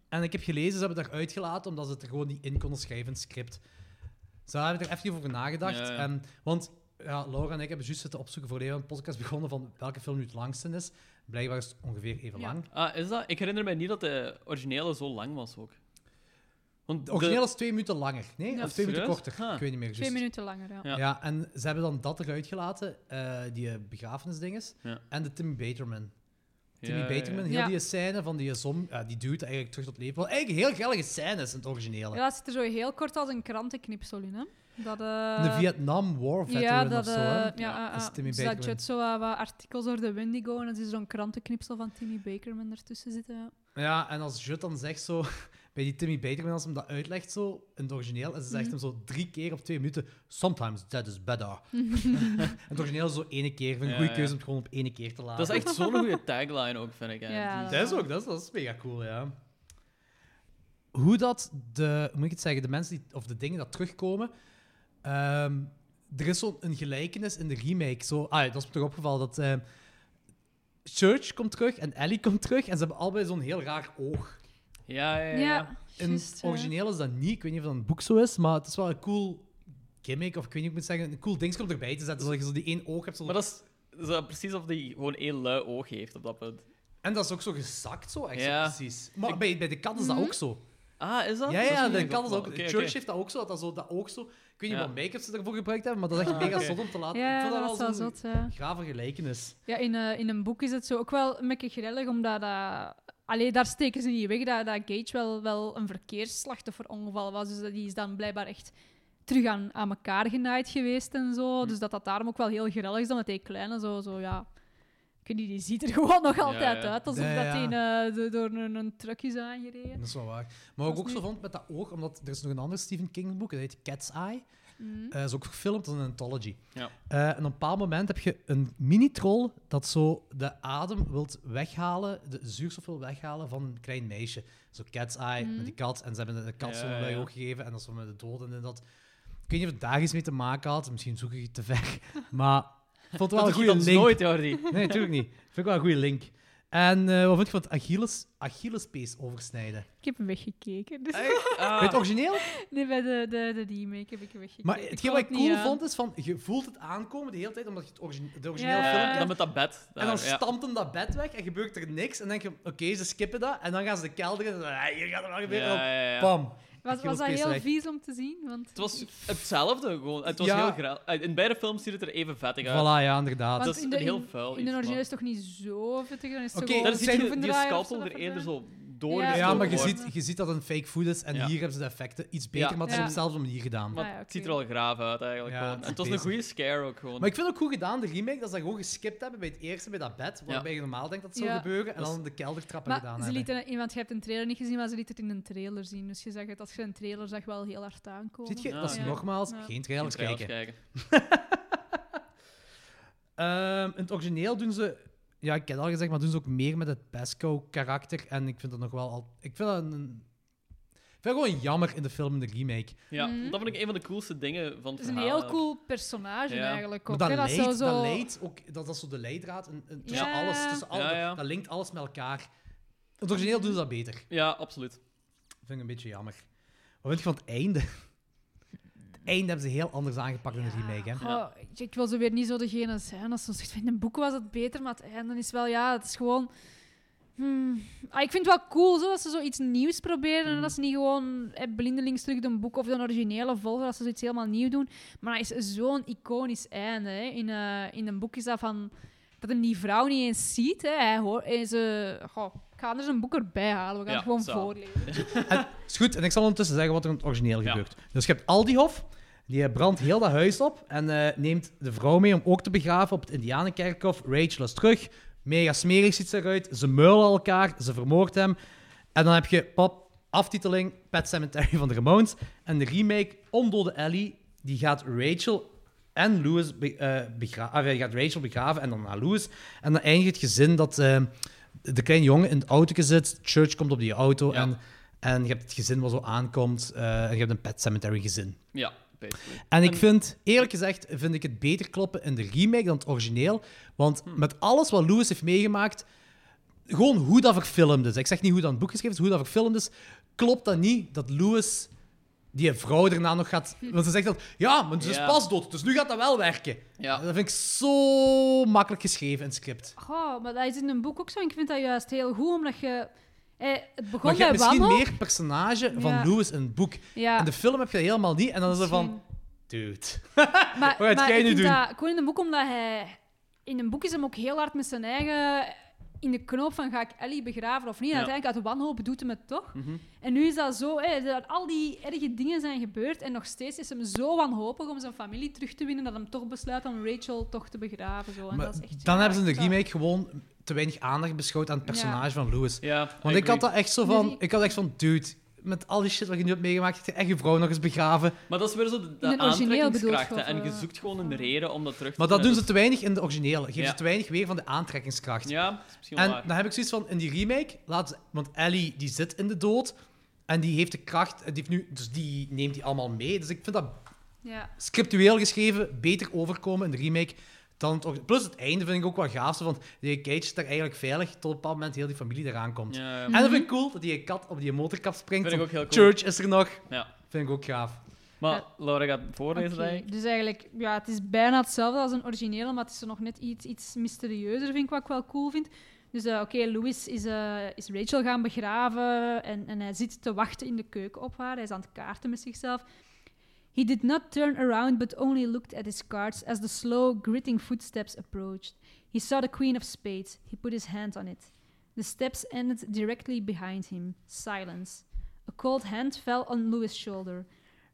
en ik heb gelezen, ze hebben daar uitgelaten, omdat ze het er gewoon niet in konden schrijven in het script. Ze hebben er even niet over nagedacht. Ja, ja. En, want ja, Laura en ik hebben juist zitten opzoeken voor even een podcast begonnen van welke film nu het langste is. Blijkbaar is het ongeveer even Ja. lang. Ah, is dat? Ik herinner mij niet dat de originele zo lang was ook. Want De origineel is twee minuten langer. Nee, Ja, of twee minuten serieus? korter. Ah. Ik weet niet meer Twee juist. minuten langer, ja. Ja. Ja. en ze hebben dan dat eruit gelaten, eh, die eh, begrafenisdinges, Ja. en de Timmy Baterman. Ja, Timmy ja, ja. Baterman, heel Ja. die scène van die eh, zom, ja, die dude eigenlijk terug tot leven. Wel eigenlijk heel gellige scènes in het originele. Ja, dat zit er zo heel kort als een krantenknipsel in, hè. Dat, eh, de Vietnam War veteran Ja, dat... of zo. eh, hè. ja, Ja, eh, dat is eh, Timmy dus dat Bakerman. jut zo wat, wat artikels door de Wendigo en dan zit zo'n krantenknipsel van Timmy Bakerman ertussen zitten. ja. Ja, en als Jut dan zegt zo... bij die Timmy Bateman, als hem dat uitlegt zo, in het origineel, en ze Mhm. zegt hem zo drie keer op twee minuten, sometimes that is better. en het origineel is zo ene keer, vind ik een Ja, goede ja. keuze om het gewoon op ene keer te laten. Dat is echt zo'n goede tagline ook, vind ik. hè. Ja, Die- dat- Dat is ook, dat is, dat is mega cool, ja. Hoe dat de, hoe moet ik het zeggen, de mensen die, of de dingen dat terugkomen. ehm, er is zo'n een gelijkenis in de remake. Zo, ah, ja, dat is me toch opgevallen dat ehm, Church komt terug en Ellie komt terug en ze hebben allebei zo'n heel raar oog. ja, ja. ja. Ja, In juist, het ja. origineel is dat niet, ik weet niet of dat in het boek zo is, maar het is wel een cool gimmick of ik weet niet hoe ik moet zeggen, een cool ding om erbij te zetten, zodat je zo die één oog hebt. zo- Maar dat is, dat is wel precies of die gewoon één lui oog heeft op dat punt. En dat is ook zo gezakt, zo, echt zo Ja. precies. Maar bij, bij de kat is dat ook zo. Ah, is dat? Ja, ja, dat kan dat dat ook. Church heeft dat ook zo, dat, dat, zo, dat ook zo. Ik weet niet Ja. wat make-up ze ervoor gebruikt hebben, maar dat is echt Ah, mega oké. zot om te laten. Ja, ik vond dat was wel zo'n zot. Ja, grave gelijkenis. ja in, eh, in een boek is het zo ook wel een beetje grillig, omdat dat... Allee, daar steken ze niet weg dat, dat Gage wel, wel een verkeersslachtofferongeval was. Dus dat- die is dan blijkbaar echt terug aan, aan elkaar genaaid geweest en zo. Hm. Dus dat dat daarom ook wel heel grillig is, omdat die kleine zo, zo ja... Ik weet niet, die ziet er gewoon nog altijd ja. uit, alsof Ja, Hm. dat ja. die eh, do- door een, een truck is aangereden. Dat is wel waar. Maar wat ik Dat ook is zo nu- vond met dat oog, omdat er is nog een ander Stephen King boek, dat heet Cat's Eye. Mm. Eh, dat is ook verfilmd, dat is een anthology. Ja. Eh, en op een bepaald moment heb je een mini-troll dat zo de adem wilt weghalen, de zuurstof wil weghalen van een klein meisje. Zo Cat's Eye Mm. met die kat. En ze hebben de kat Ja, zo'n ja, lui ja. oog gegeven en dat is zo met de dood en dat. Ik weet niet of het daar iets mee te maken had. Misschien zoek ik het te ver. Maar ik vond het wel Dat een doet goede ons link. nooit, Jordi. Nee, natuurlijk niet. Vind ik wel een goede link. En eh, wat vond je van het Achilles, Achillespees oversnijden? Ik heb hem weggekeken. Dus Ah, Weet je het origineel? Nee, bij de, de, de remake heb ik hem weggekeken. Maar het hetgeen wat ik cool vond is van, je voelt het aankomen de hele tijd, omdat je het origine- de originele Ja. film eh, kent. dan met dat bed. En dan daar, ja. stampt hem dat bed weg en gebeurt er niks. En dan denk je, oké, ze skippen dat. En dan gaan ze de kelder in. en dan, "Ah, Hier gaat er wel gebeuren. Ja, ja, ja. Bam. Was, was dat Achillespees heel weg. vies om te zien? Want, Het was hetzelfde gewoon. Het was Ja. heel graal. Eh, In beide films ziet het er even vettig uit. Voilà, ja, inderdaad. want dat is in de, een heel in- vuil In iets, de origineel maar- is het toch niet zo vettig? Dan is het Oké, zo Daar gewoon zie je die schroevendraaier of scalpel zo dat er eerder verdwijnt. zo doorgestoken ja, maar je wordt. ziet, je ziet dat een fake food is. En Ja. hier hebben ze de effecten iets beter, Ja. maar het is Ja. op dezelfde manier gedaan. Maar Ah, ja, het ziet er oké. al graaf uit eigenlijk. Ja, gewoon. het En is het was een bezig. goede scare ook gewoon. Maar ik vind het ook goed gedaan, de remake, dat ze dat gewoon geskipt hebben bij het eerste, bij dat bed, waarbij je normaal denkt dat het zou Ja. gebeuren, en dan de keldertrappen gedaan Maar ze hebben. lieten, want je hebt een trailer niet gezien, maar ze lieten het in een trailer zien. Dus je zegt het als je een trailer zag, wel heel hard aankomen. Ziet je? Ja, dat is ja. nogmaals Ja. geen Geen trailers trailers kijken. Ehm, in het origineel doen ze, ja, ik heb het al gezegd, maar doen ze ook meer met het Pasco-karakter. En ik vind dat nog wel al. Ik vind dat een. ik vind dat gewoon jammer in de film en de remake. Ja, Mhm. dat vind ik een van de coolste dingen van het Het is een verhaal heel ook. cool personage Ja. eigenlijk. Maar Ook, dat, hè. leidt, is zo, zo... dat leidt ook, dat, dat is zo de leidraad en, en tussen Ja. alles. Tussen al, Ja, ja. Dat linkt alles met elkaar. In het origineel doen ze dat beter. Ja, absoluut. vind ik een beetje jammer. Wat vind je van het einde? Het einde hebben ze heel anders aangepakt in de remake. Hè? Ja. Goh, ik wil zo weer niet zo degene zijn als ze zegt, in een boek was het beter, maar het einde is wel, ja, het is gewoon... Hmm. Ah, ik vind het wel cool zo, dat ze zoiets nieuws proberen Hmm. en dat ze niet gewoon eh, blindelings terug een boek of de originele volgen, dat ze zoiets helemaal nieuw doen. Maar dat is zo'n iconisch einde. Hè. In, eh, in een boek is dat van... Dat hem die vrouw niet eens ziet. Hè. Hij hoort, en ze, goh, ik ga er eens een boek erbij halen. We gaan Ja, het gewoon zalig. voorlezen. En, is goed, en ik zal ondertussen zeggen wat er in het origineel Ja. gebeurt. Dus je hebt Aldihof, die eh, brandt heel dat huis op en eh, neemt de vrouw mee om ook te begraven op het Indianenkerkhof. Rachel is terug, mega smerig ziet ze eruit, ze meulen elkaar, ze vermoordt hem. En dan heb je, pop, aftiteling, Pet Cemetery van de Ramones. En de remake, Ondode Ellie, die gaat Rachel en Louis be- eh, begra- ah, die gaat Rachel begraven en dan naar Louis. En dan eindigt het gezin dat eh, de kleine jongen in het autootje zit, Church komt op die auto Ja. en... En je hebt het gezin wat zo aankomt. eh, en je hebt een pet cemetery gezin. Ja, basically. En ik En- vind, eerlijk gezegd, vind ik het beter kloppen in de remake dan het origineel. Want met alles wat Lewis heeft meegemaakt, gewoon hoe dat verfilmd is. Ik zeg niet hoe dat in het boek geschreven is, hoe dat verfilmd is. Klopt dat niet dat Lewis die vrouw daarna nog gaat... Want ze zegt dat, ja, maar ze is Ja. pas dood, dus nu gaat dat wel werken. Ja. Dat vind ik zo makkelijk geschreven in het script. Goh, maar dat is in een boek ook zo. En ik vind dat juist heel goed, omdat je... Eh, het begon Maar je bij hebt misschien Wammel. meer personage van Ja. Lewis in het boek. Ja, In de film heb je dat helemaal niet. En dan is er van, misschien. dude... Maar, Wat gaat maar jij ik nu vind doen? dat gewoon in een boek, omdat hij... In een boek is hem ook heel hard met zijn eigen... In de knoop van ga ik Ellie begraven of niet. En Ja. uiteindelijk uit wanhoop doet hem het toch. Mhm. En nu is dat zo, hè, dat al die erge dingen zijn gebeurd. En nog steeds is hem zo wanhopig om zijn familie terug te winnen. dat hem toch besluit om Rachel toch te begraven. Zo. En Maar dat is echt, dan ja, hebben ze in echt de wel- remake gewoon te weinig aandacht beschouwd aan het personage van Lewis. Ja, Want ik had agree. dat echt zo Dus van, die- ik had echt van, dude, met al die shit wat je nu hebt meegemaakt, heb je echt je vrouw nog eens begraven. Maar dat is weer zo de, de In het origineel bedoelt je, aantrekkingskrachten. of, En je eh? zoekt gewoon een reden om dat terug te Maar dat doen ze zetten. te weinig in de originele. Geven Ja. ze te weinig weer van de aantrekkingskracht. Ja, dat is misschien wel En waar. dan heb ik zoiets van, in die remake, laat ze- want Ellie die zit in de dood en die heeft de kracht, en die heeft nu, dus die neemt die allemaal mee. Dus ik vind dat Ja. scriptueel geschreven beter overkomen in de remake dan het orgi- Plus het einde vind ik ook wel gaaf, zo van die Cage zit daar eigenlijk veilig tot op een bepaald moment heel die familie eraan komt. Ja, ja. En dat vind ik cool, dat die kat op die motorkap springt. Mhm. Vind ik van, ook heel cool. Church is er nog. Ja. Vind ik ook gaaf. Maar Laura gaat voorlezen, Oké, eigenlijk. Dus eigenlijk, ja, het is bijna hetzelfde als een originele, maar het is er nog net iets, iets mysterieuzer, vind ik, wat ik wel cool vind. Dus eh, oké, Louis is, eh, is Rachel gaan begraven en, en hij zit te wachten in de keuken op haar. Hij is aan het kaarten met zichzelf. He did not turn around, but only looked at his cards as the slow, gritting footsteps approached. He saw the Queen of Spades. He put his hand on it. The steps ended directly behind him. Silence. A cold hand fell on Louis' shoulder.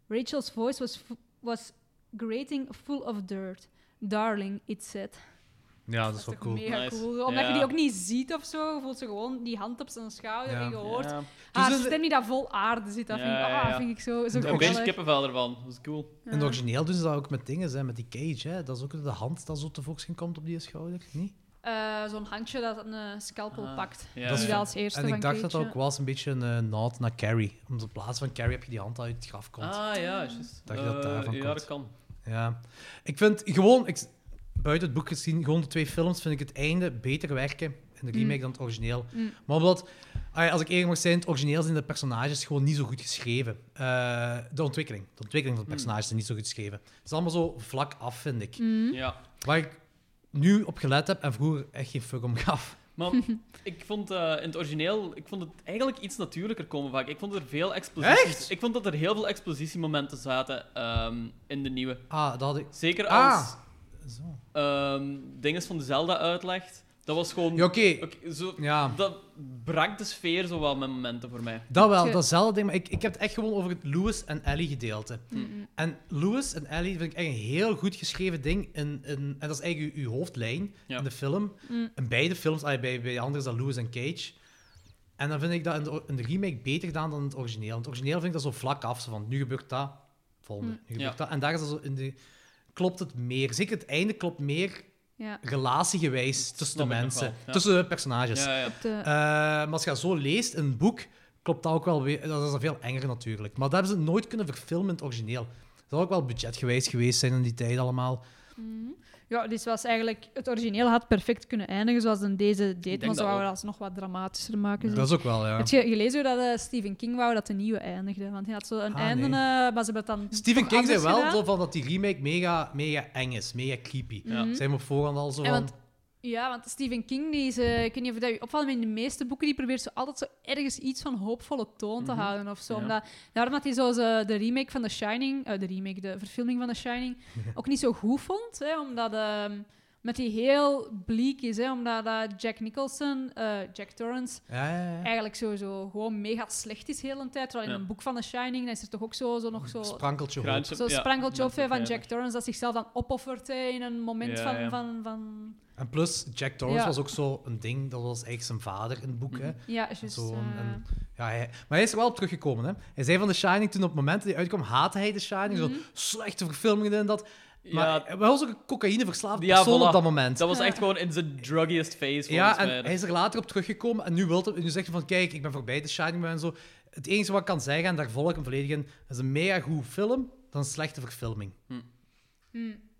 Rachel's voice was, fu- was grating full of dirt. Darling, it said. Ja, dat is toch wel cool. mega Nice. cool. Omdat je die Ja. ook niet ziet of zo, voelt ze gewoon die hand op zijn schouder Ja. en je hoort Ja. haar Dus dat- stem die daar vol aarde zit. Dat Ja, vind, ik, ah, ja, ja. vind ik zo, zo Een beetje geweldig. kippenvel ervan. Dat is cool. In het origineel doen ze dat ook met dingen, hè, met die cage. Hè. Dat is ook de hand dat zo tevoorschijn komt op die schouder. Niet? Eh, Zo'n handje dat een eh, scalpel Ah. pakt. Ja, Die is dat als eerste En van ik dacht dat dat Keetje. ook was een beetje een eh, nod naar Carrie. Omdat in plaats van Carrie heb je die hand uit het graf komt. Ah ja, juist. Dat je dat Eh, daarvan Ja, komt. dat kan. Ja. Ik vind gewoon, ik, buiten het boek gezien, gewoon de twee films, vind ik het einde beter werken in de remake dan het origineel. Maar omdat, ah ja, als ik eerlijk mag zijn, het origineel zijn de personages gewoon niet zo goed geschreven. Eh, de ontwikkeling. De ontwikkeling van de personages is niet zo goed geschreven. Het is allemaal zo vlak af, vind ik. Hm? Ja. Waar ik nu op gelet heb en vroeger echt geen fuck om gaf. Maar ik vond eh, in het origineel ik vond het eigenlijk iets natuurlijker komen vaak. Ik vond er veel exposities. Echt? Ik vond dat er heel veel expositiemomenten zaten ehm, in de nieuwe. Ah, dat had ik... Zeker Ah. als Zo. ehm dingen van Zelda uitlegt. Dat was gewoon. Ja, oké. Oké, zo, Ja. Dat brak de sfeer zo wel met momenten voor mij. Dat wel, Ge- datzelfde ding. Maar ik, ik heb het echt gewoon over het Lewis en Ellie gedeelte. En Lewis en Ellie vind ik echt een heel goed geschreven ding. In, in, en dat is eigenlijk uw, uw hoofdlijn Ja. in de film. In beide films, ah, bij, bij de andere is dat Lewis en Cage. En dan vind ik dat in de, or- in de remake beter gedaan dan in het origineel. In het origineel vind ik dat zo vlak af. Zo van, nu gebeurt dat, volgende. Nu gebeurt Ja. dat. En daar is dat zo in de... Klopt het meer. Zeker het einde klopt meer Ja. relatiegewijs tussen de Snap ik nog mensen. wel, ja. Tussen de personages. Ja, ja. Op de- Eh, maar als je dat zo leest in een boek, klopt dat ook wel weer. Dat is dan veel enger natuurlijk. Maar dat hebben ze nooit kunnen verfilmen in het origineel. Dat zou ook wel budgetgewijs geweest zijn in die tijd allemaal. Ja, dit was eigenlijk... Het origineel had perfect kunnen eindigen zoals in deze deed, maar dat ze wouden ook. dat nog wat dramatischer maken. Dat is ook wel, ja. Heb je gelezen hoe dat, eh, Stephen King wou dat de nieuwe eindigde? Want hij had zo een Ah, einde, nee. eh, maar ze hebben het dan Stephen toch King zei anders wel gedaan. zo van dat die remake mega, mega eng is, mega creepy. Ja. Zijn we op voorhand al zo En van... want- Ja, want Stephen King, die is, eh, ik weet niet of dat je opvalt, maar in de meeste boeken die probeert zo altijd zo ergens iets van hoopvolle toon te Mhm. houden of zo. Ja. Omdat, daarom dat hij zo ze- de remake van The Shining, eh, de remake, de verfilming van The Shining, ook niet zo goed vond. Hè, omdat ehm met die heel bleek is, hè, omdat eh, Jack Nicholson, eh, Jack Torrance, Ja, ja, ja. eigenlijk sowieso gewoon mega slecht is de hele tijd. Terwijl in Ja. een boek van The Shining, dan is er toch ook zo, zo nog zo Sprankeltje hoop. Graantje- Zo'n ja, sprankeltje op, hè, van ja. Jack Torrance dat zichzelf dan opoffert hè, in een moment Ja, van, ja. Van, van... En plus, Jack Torrance Ja. was ook zo een ding. Dat was eigenlijk zijn vader in het boek, hè. Ja, juist. Zo een- eh, een- ja, hij- maar hij is er wel op teruggekomen. Hè? Hij zei van The Shining toen op het moment dat hij uitkwam, haatte hij The Shining. Mhm. Zo slechte verfilmingen en dat. Maar Ja. hij was ook een cocaïneverslaafde Ja, persoon voilà. op dat moment. Dat was echt gewoon in zijn druggiest phase. ja, en volgens mij. hij is er later op teruggekomen en nu, wilt hij, nu zegt hij van, kijk, ik ben voorbij The Shining en zo. Het enige wat ik kan zeggen, en daar volg ik hem volledig in, dat is een mega goed film, dan een slechte verfilming. Hm.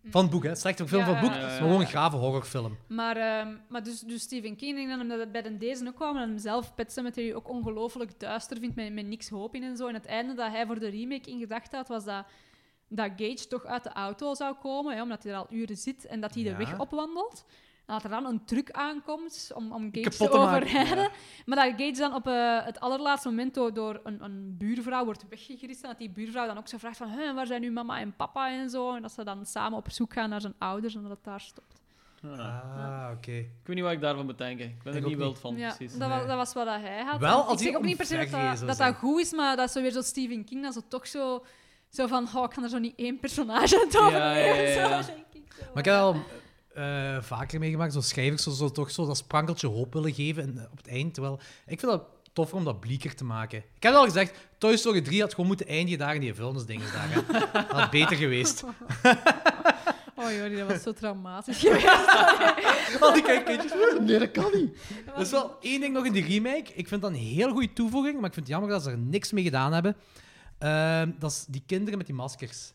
Van het boek, hè. Slechte verfilming Hm, van Ja, het boek, ja, ja, ja. maar gewoon een grave horrorfilm. Maar, ehm, maar dus, dus Stephen King, ik denk dat omdat het bij den deze ook kwam, en hem zelf Pet Sematary ook ongelooflijk duister vindt, met, met niks hoop in en zo. En het einde dat hij voor de remake in gedachten had, was dat, dat Gage toch uit de auto zou komen, hè, omdat hij er al uren zit, en dat hij Ja. de weg opwandelt. En dat er dan een truc aankomt om, om Gage Kapot te te maken, overrijden. Maar dat Gage dan op eh, het allerlaatste moment door, door een, een buurvrouw wordt weggegrist. En dat die buurvrouw dan ook zo vraagt van, "Hè, waar zijn nu mama en papa en zo. En dat ze dan samen op zoek gaan naar zijn ouders en dat het daar stopt. Ah, oké. Ik weet niet wat ik daarvan moet denken. Ik ben Ik er ook niet wild niet. van, Ja, precies. dat, was, dat was wat dat hij had. Wel, En als ik zeg hij ook niet per se dat omvergereden zou dat, dat, zijn. dat goed is, maar dat is zo weer zo Stephen King, dat zo toch zo, zo van, oh, ik kan er zo niet één personage aan tonen. Ja, ja, ja, ja. Zo denk ik zo. Maar ik heb al eh, eh, vaker meegemaakt, zo schrijvers zo, zo toch zo dat sprankeltje hoop willen geven en, eh, op het eind. Terwijl ik vind dat toffer om dat blieker te maken. Ik heb al gezegd, Toy Story 3 had gewoon moeten eindigen daar in die vuilnisdingen. daar, hè. Dat had beter geweest. Oh Jordi, dat was zo traumatisch geweest. Al die kijkkindjes. Nee, dat kan niet. Dat is wel één ding nog in die remake. Ik vind dat een heel goede toevoeging, maar ik vind het jammer dat ze er niks mee gedaan hebben. Ehm, dat is die kinderen met die maskers.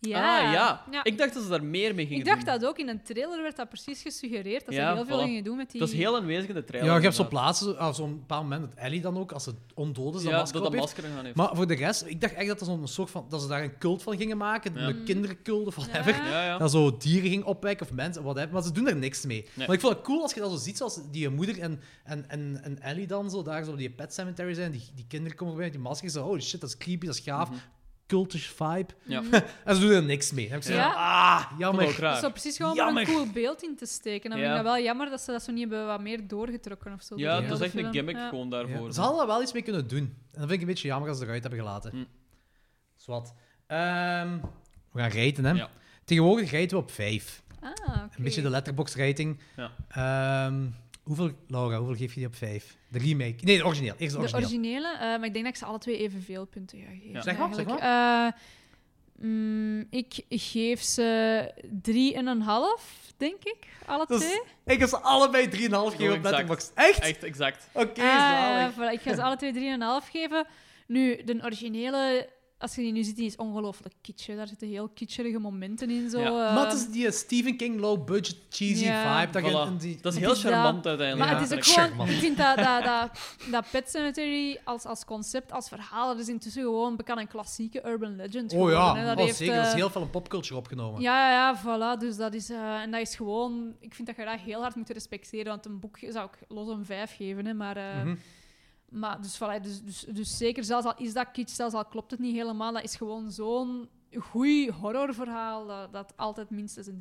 Ja. Ah, ja. Ik dacht dat ze daar meer mee Ik gingen dacht doen. dat ook. In een trailer werd dat precies gesuggereerd. Dat ze Ja, heel veel voilà. gingen doen met die... Dat is heel aanwezig in de trailer. Ja, je hebt zo'n inderdaad. plaatsen, ah, zo'n bepaald moment dat Ellie dan ook, als ze ondood is, dat Ja, masker dat dat op heeft. masker aan heeft. Maar voor de rest, ik dacht echt dat, dat, zo'n soort van, dat ze daar een cult van gingen maken. Ja. Mm. Een kindercult of whatever. Ja. ja, ja. Dat zo dieren ging opwekken of mensen, whatever. Maar ze doen er niks mee. Nee. Maar ik vond het cool als je dat zo ziet, zoals die moeder en, en, en, en Ellie dan zo daar zo op die pet cemetery zijn. Die, die kinderen komen erbij met die maskers. Zo, oh shit, dat is creepy, dat is gaaf. Cultish vibe. Mhm. Ja. En ze doen er niks mee. Dan heb ik zoiets Ja. van, ah, Dat jammer. is ook raar. Dus zo precies gewoon om Jammer. een cool beeld in te steken. Dan Ja. vind ik dat wel jammer dat ze dat zo niet hebben wat meer doorgetrokken of zo. Ja, door het is heel echt de een film. gimmick Ja. gewoon daarvoor. Ja, Ze hadden er wel iets mee kunnen doen. En dat vind ik een beetje jammer als ze eruit hebben gelaten. Hm. Zwat. Ehm, we gaan rijden, hè. Ja. Tegenwoordig rijden we op 5. Ah, oké. Een beetje de letterbox rating. Ja. hoeveel, Laura, hoeveel geef je die op 5? De remake. Nee, de origineel. Eerst de De origineel. originele, eh, maar ik denk dat ik ze alle twee evenveel punten ga geven. Ja. Zeg maar, zeg eigenlijk. Eh, mm, ik geef ze 3,5, denk ik. Alle Dat is twee. Dus ik heb ze allebei 3,5 Zo gegeven op exact. letterbox. Echt? Echt, exact. Oké, Ah, zalig. voilà, ik ga ze alle twee 3,5 geven. Nu, de originele, als je die nu ziet, die is ongelooflijk kitsch. hè. Daar zitten heel kitscherige momenten in. Zo, Ja. eh. Maar het is die eh, Stephen King low-budget cheesy Ja. vibe. Dat je Voilà. in die... Dat is Het heel is dat- charmant uiteindelijk. Maar Ja. het is ook Sure, gewoon, man. ik vind dat, dat, dat, dat Pet Cemetery als, als concept, als verhaal, dat is intussen gewoon bekend een klassieke urban legend. Oh geworden, ja, hè. dat oh, heeft, zeker. Dat is eh, heel veel een popculture opgenomen. Ja, ja, voilà. Dus dat is, eh, en dat is gewoon, ik vind dat je dat heel hard moet respecteren, want een boek zou ik los een vijf geven, hè, maar. eh, Mhm. Maar dus, voilà, dus, dus, dus zeker, zelfs al is dat kitsch, zelfs al klopt het niet helemaal, dat is gewoon zo'n goed horrorverhaal dat, dat altijd minstens een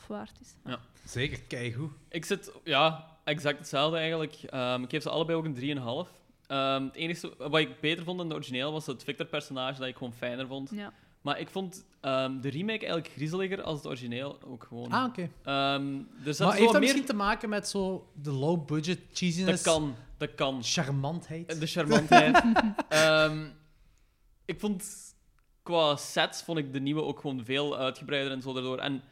3,5 waard is. Zeker, kijk hoe. Ik zit, ja, exact hetzelfde eigenlijk. Ehm, ik geef ze allebei ook een 3,5. Ehm het enige wat ik beter vond dan de origineel was het Victor-personage dat ik gewoon fijner vond. Ja. Maar ik vond ehm, de remake eigenlijk griezeliger als het origineel ook gewoon. Ah, oké. Ehm, er zat zo Maar heeft dat wat meer... misschien te maken met zo de low-budget Dat cheesiness? kan, dat kan. Charmantheid? De charmantheid. Ehm, ik vond qua sets vond ik de nieuwe ook gewoon veel uitgebreider en zo daardoor. En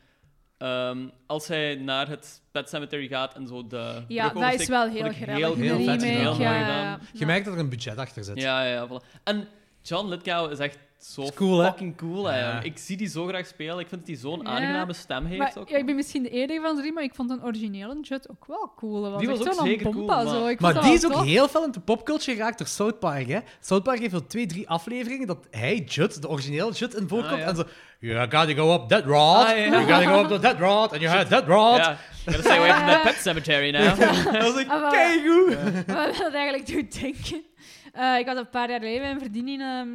ehm, als hij naar het Pet Cemetery gaat en zo de Ja, brug dat is oversteekt, wel vond heel ik grappig. heel de heel vet remake, gedaan. ja, Heel mooi ja, gedaan. ja. Je merkt dat er een budget achter zit. Ja, ja, ja, voilà. En John Lithgow is echt zo Is cool, hè? fucking cool. Hè, Ja. jong. Ik zie die zo graag spelen. Ik vind dat hij zo'n Ja. aangename stem heeft. Maar, ook. ja, ik ben misschien de enige van de drie, maar ik vond een originele Jet ook wel cool. Dat was Die was echt ook zo'n zeker bompa, cool, zo. maar- Ik vond Maar dat die wel is ook tof. heel veel in de popculture geraakt door South Park. Hè? South Park heeft al twee, drie afleveringen dat hij, Judd, de origineel Judd, in voorkomt. Ah, ja. En zo, you gotta go up that rod, Ah, ja. you gotta go up that rod, and you had that rod. Ja, gotta stay away from that pet cemetery now. Dat was ik Ah, wel. keigoed. Wat dat eigenlijk doet denken. Eh, ik was een paar jaar geleden bij een vriendin in, ehm,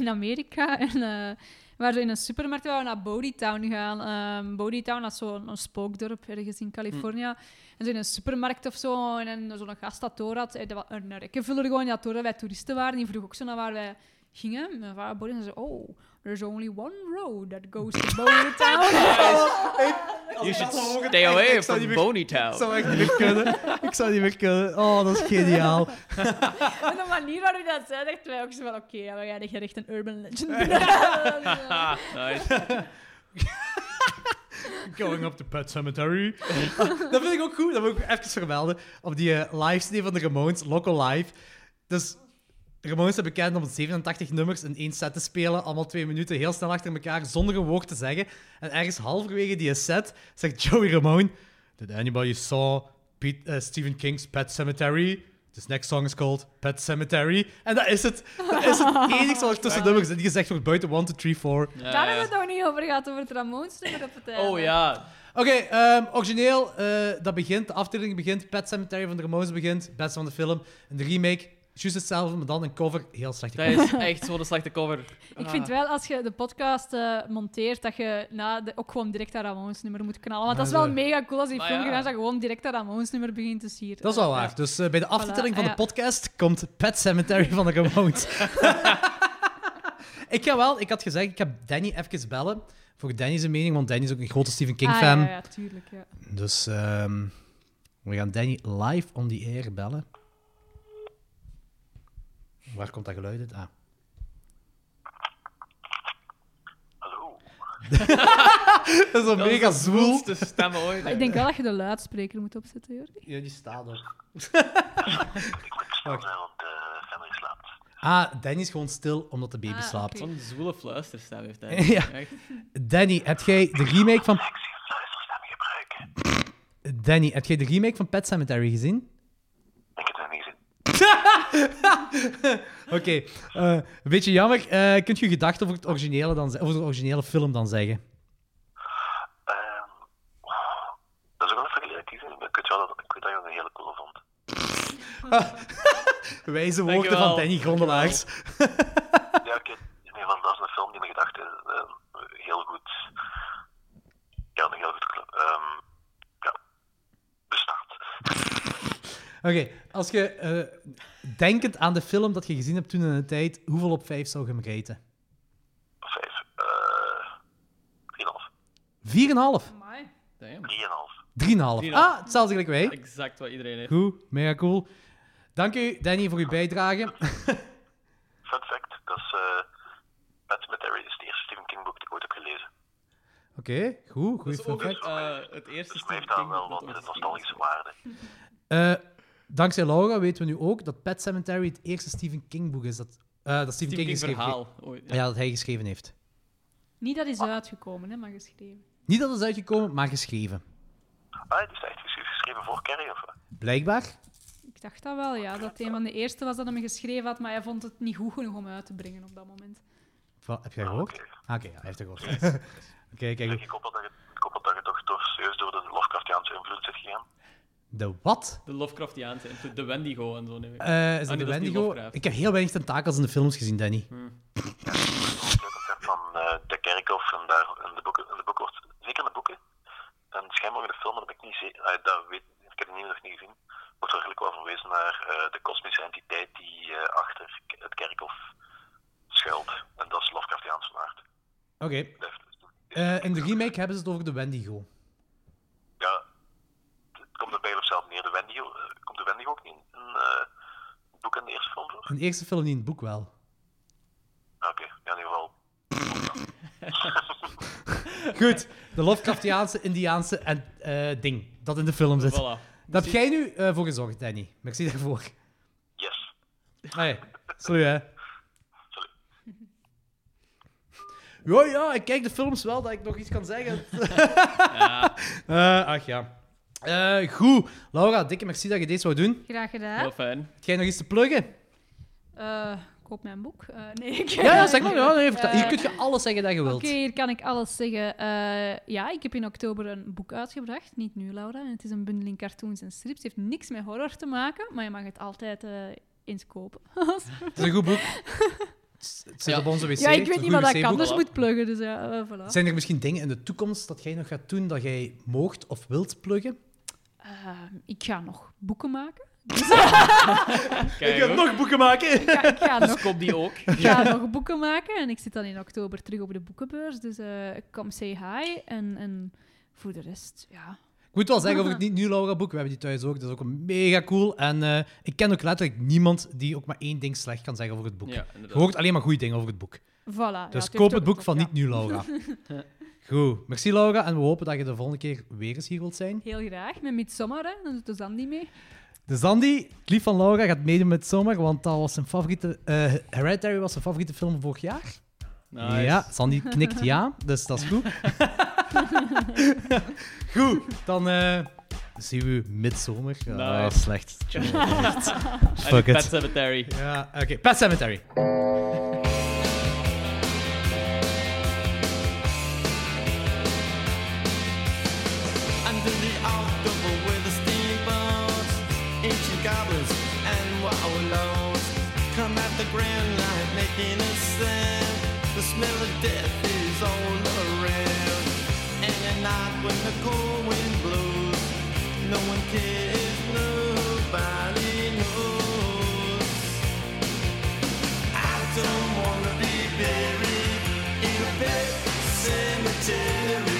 in Amerika. En eh, we waren zo in een supermarkt waar we naar Bodytown gaan. Ehm Bodytown, dat is zo'n een spookdorp ergens in California. En zo in een supermarkt of zo. En, en zo'n gast dat door had. eh, dat was Een rekkenvuller gewoon, die had door dat wij toeristen waren. Die vroeg ook zo naar waar wij gingen. En we waren Bodytown en ze zei, oh, there's only one road that goes to Bodytown. You should stay away from Boney Ik Town. zou echt niet meer kunnen. Ik zou niet meer kunnen. Oh, dat is geniaal. en de manier waarop hij dat zei, dachten wij ook zo van, oké, ja, we gaan echt- echt een urban legend doen. Ah, nice. Going up the pet cemetery. dat vind ik ook goed. Dat moet ik even vermelden. Op die eh, live CD van de Ramones, Local Live. Dus Ramones zijn bekend om 87 nummers in één set te spelen. Allemaal twee minuten, heel snel achter elkaar, zonder een woord te zeggen. En ergens halverwege die set zegt Joey Ramone... Did anybody saw Pete, eh, Stephen King's Pet Cemetery? This next song is called Pet Cemetery. En dat is het. Dat is het enigste wat er tussen nummers in gezegd wordt buiten 1, 2, 3, 4. Ja, Daar ja. hebben we het nog niet over gehad, over het Ramones nummer op het einde. Oh ja, Oké, ehm, origineel, eh, dat begint, de afdeling begint, Pet Cemetery van de Ramones begint, beste van de film, en de remake, juist hetzelfde, maar dan een cover, heel slecht. dat is echt zo'n slechte cover. Ik vind wel, als je de podcast eh, monteert, dat je na de, ook gewoon direct dat Ramones nummer moet knallen. Want dat is Maar wel mega cool als die Maar film ja. gedaan is, dat je gewoon direct dat Ramones nummer begint te sieren. Dat is wel waar. Ja. Ah, Dus eh, bij de aftiteling van de ja. podcast komt Pet Cemetery van de Ramones. ik ga wel, ik had gezegd, ik heb Danny even bellen voor Danny's mening, want Danny is ook een grote Stephen Ah, King-fan. ja, ja, tuurlijk. Ja. Dus ehm, we gaan Danny live on the air bellen. Waar komt dat geluid uit? Ah. Hallo. Dat is zo Dat is mega de zwoel. coolste stem ooit. Ik denk wel dat je de luidspreker moet opzetten, Jurgen. Ja, die staat op. Ik moet snel zijn, want de family slaapt. Ah, Danny is gewoon stil omdat de baby Ah, slaapt. oké. Zo'n zwoele fluisterstem heeft hij. Ja. Echt. Danny, heb jij de remake van... Ik zie een luisterstem gebruiken. Danny, heb jij de remake van Pet Cemetery gezien? Ik heb het niet gezien. Oké, eh, een beetje jammer. Eh, kunt je je gedachten over, het originele dan ze- over de originele film dan zeggen? Ehm, dat is ook wel een vergelijking. maar Ik weet wel dat ik weet dat je dat een hele coole vond. Wijze woorden woorden Dankjewel. van van Danny Danny Grondelaars. Ja, oké. Nee, want dat is een film die in mijn gedachten ehm, heel goed. Ja, een heel goed. kle- ehm, ja, bestaat. Oké, als je eh, denkend aan de film dat je gezien hebt toen in de tijd, hoeveel op vijf zou je hem reten? Vijf. eh 3,5. Vier en half. Amai. Damn. 3,5. Drie en een half. Ah, hetzelfde gelijk wij. Exact wat iedereen heeft. Goed, mega cool. Dank u, Danny, voor uw bijdrage. Fun fact: dat is. eh Pet Cemetery is het eerste Stephen King boek dat ik ooit heb gelezen. Oké, goed, Dat goede is ook fun het, fact. eh, het eerste Dus Stephen mij heeft daar King wel dat wat eh, ooit geschreven nostalgische waarde. Eh, dankzij Laura weten we nu ook dat Pet Cemetery het eerste Stephen King boek is dat, eh, dat Stephen, Stephen King, King geschreven verhaal ooit. Ja, dat hij geschreven heeft. Niet dat is uitgekomen, hè, maar geschreven. Niet dat het is uitgekomen, maar geschreven. Ah, het is echt geschreven voor Carrie of wat? Blijkbaar. Ik dacht dat wel, ja. Dat het een van de eerste was dat hem geschreven had, maar hij vond het niet goed genoeg om uit te brengen op dat moment. Wat, heb jij gehoord? Oké. Ah, Oké, ja, hij heeft er gehoord. Oké, kijk. Zeg, Ik hoop dat je, ik hoop dat je toch door, serieus door de Lovecraftiaanse invloed zit gegaan. De wat? De Lovecraftiaanse, invloed, de Wendigo en zo. neem ik. Eh, Ah, is dat de nee, dat is niet Hmm. Wendigo? Lovecraft. Ik heb heel weinig tentakels in de films gezien, Danny. Het concept van eh, de kerkhof en daar in de boeken, in de boeken wordt, zeker in de boeken, en schijnbaar in de film, dat heb ik niet zeker, dat weet, ik heb het niet, nog niet gezien, wordt er eigenlijk wel verwezen naar eh, de kosmische entiteit die eh, achter k- het kerkhof schuilt. En dat is Lovecraftiaans van aard. Oké. Dat heeft- eh, in de remake hebben ze het over de Wendigo. Ja, het komt er bijna op zelf neer. De Wendigo, eh, komt de Wendigo ook niet in eh, het boek en de eerste film voor? In de eerste film niet, in het boek wel. Ah, Oké, ja, in ieder geval. Goed, de Lovecraftiaanse, Indiaanse en eh, ding dat in de film zit. Voilà. Daar heb jij nu eh, voor gezorgd, Danny. Merci daarvoor. Yes. Hey, salut hè. Salut. Ja, ja, ik kijk de films wel, dat ik nog iets kan zeggen. Eh, ach ja. Eh, goed. Laura, dikke merci dat je deze wou doen. Graag gedaan. Heel fijn. Heb jij nog iets te pluggen? Eh, koop mijn boek. Eh, nee, ik... Ja, ja zeg maar. Ja, nee, vertel. Eh, Hier kun je alles zeggen dat je wilt. Oké, hier kan ik alles zeggen. Eh, ja, ik heb in oktober een boek uitgebracht. Niet nu, Laura. En het is een bundeling cartoons en strips. Het heeft niks met horror te maken, maar je mag het altijd eh, eens kopen. Het is een goed boek. Het s- Het zit Ja. op onze wc. ja, ik Het is weet een niet goed wat ik wc-boek. anders voilà. moet pluggen, dus ja, eh, voilà. Zijn er misschien dingen in de toekomst dat jij nog gaat doen dat jij moogt of wilt pluggen? Eh, ik ga nog boeken maken. Dus, eh, Kijk, hoor. nog boeken maken. Ik ga, ik ga nog Dus koop die ook. Ik ga nog boeken maken en ik zit dan in oktober terug op de boekenbeurs. Dus eh kom say hi. En, en voor de rest, ja. Ik moet wel zeggen over het Niet Nu Laura boek. We hebben die thuis ook. Dat is ook mega cool. En eh, ik ken ook letterlijk niemand die ook maar één ding slecht kan zeggen over het boek. Ja, Je inderdaad. hoort alleen maar goede dingen over het boek. Voilà. ja, Dus heeft koop ook het boek nog, van ja. Niet Nu Laura. Goed. Merci Laura. En we hopen dat je de volgende keer weer eens hier wilt zijn. Heel graag. Met Midsommar, hè. Dan doet de Sandy mee. De Zandy, het lief van Laura, gaat meedoen met Zomer, want dat was zijn favoriete... eh, Hereditary was zijn favoriete film vorig jaar. Nice. Ja, Sandy knikt ja, dus dat is goed. goed, dan eh, zien we u midzomer. Ja, Nice. slecht. En Fuck Pet eh, it. Cemetery. Ja, oké. Pet Cemetery. Under the October with the steamboats, ancient goblins and wallows come at the grand line making a sound. The smell of death is all around, and at night when the cold wind blows, no one cares, nobody knows. I don't wanna be buried in a pet cemetery.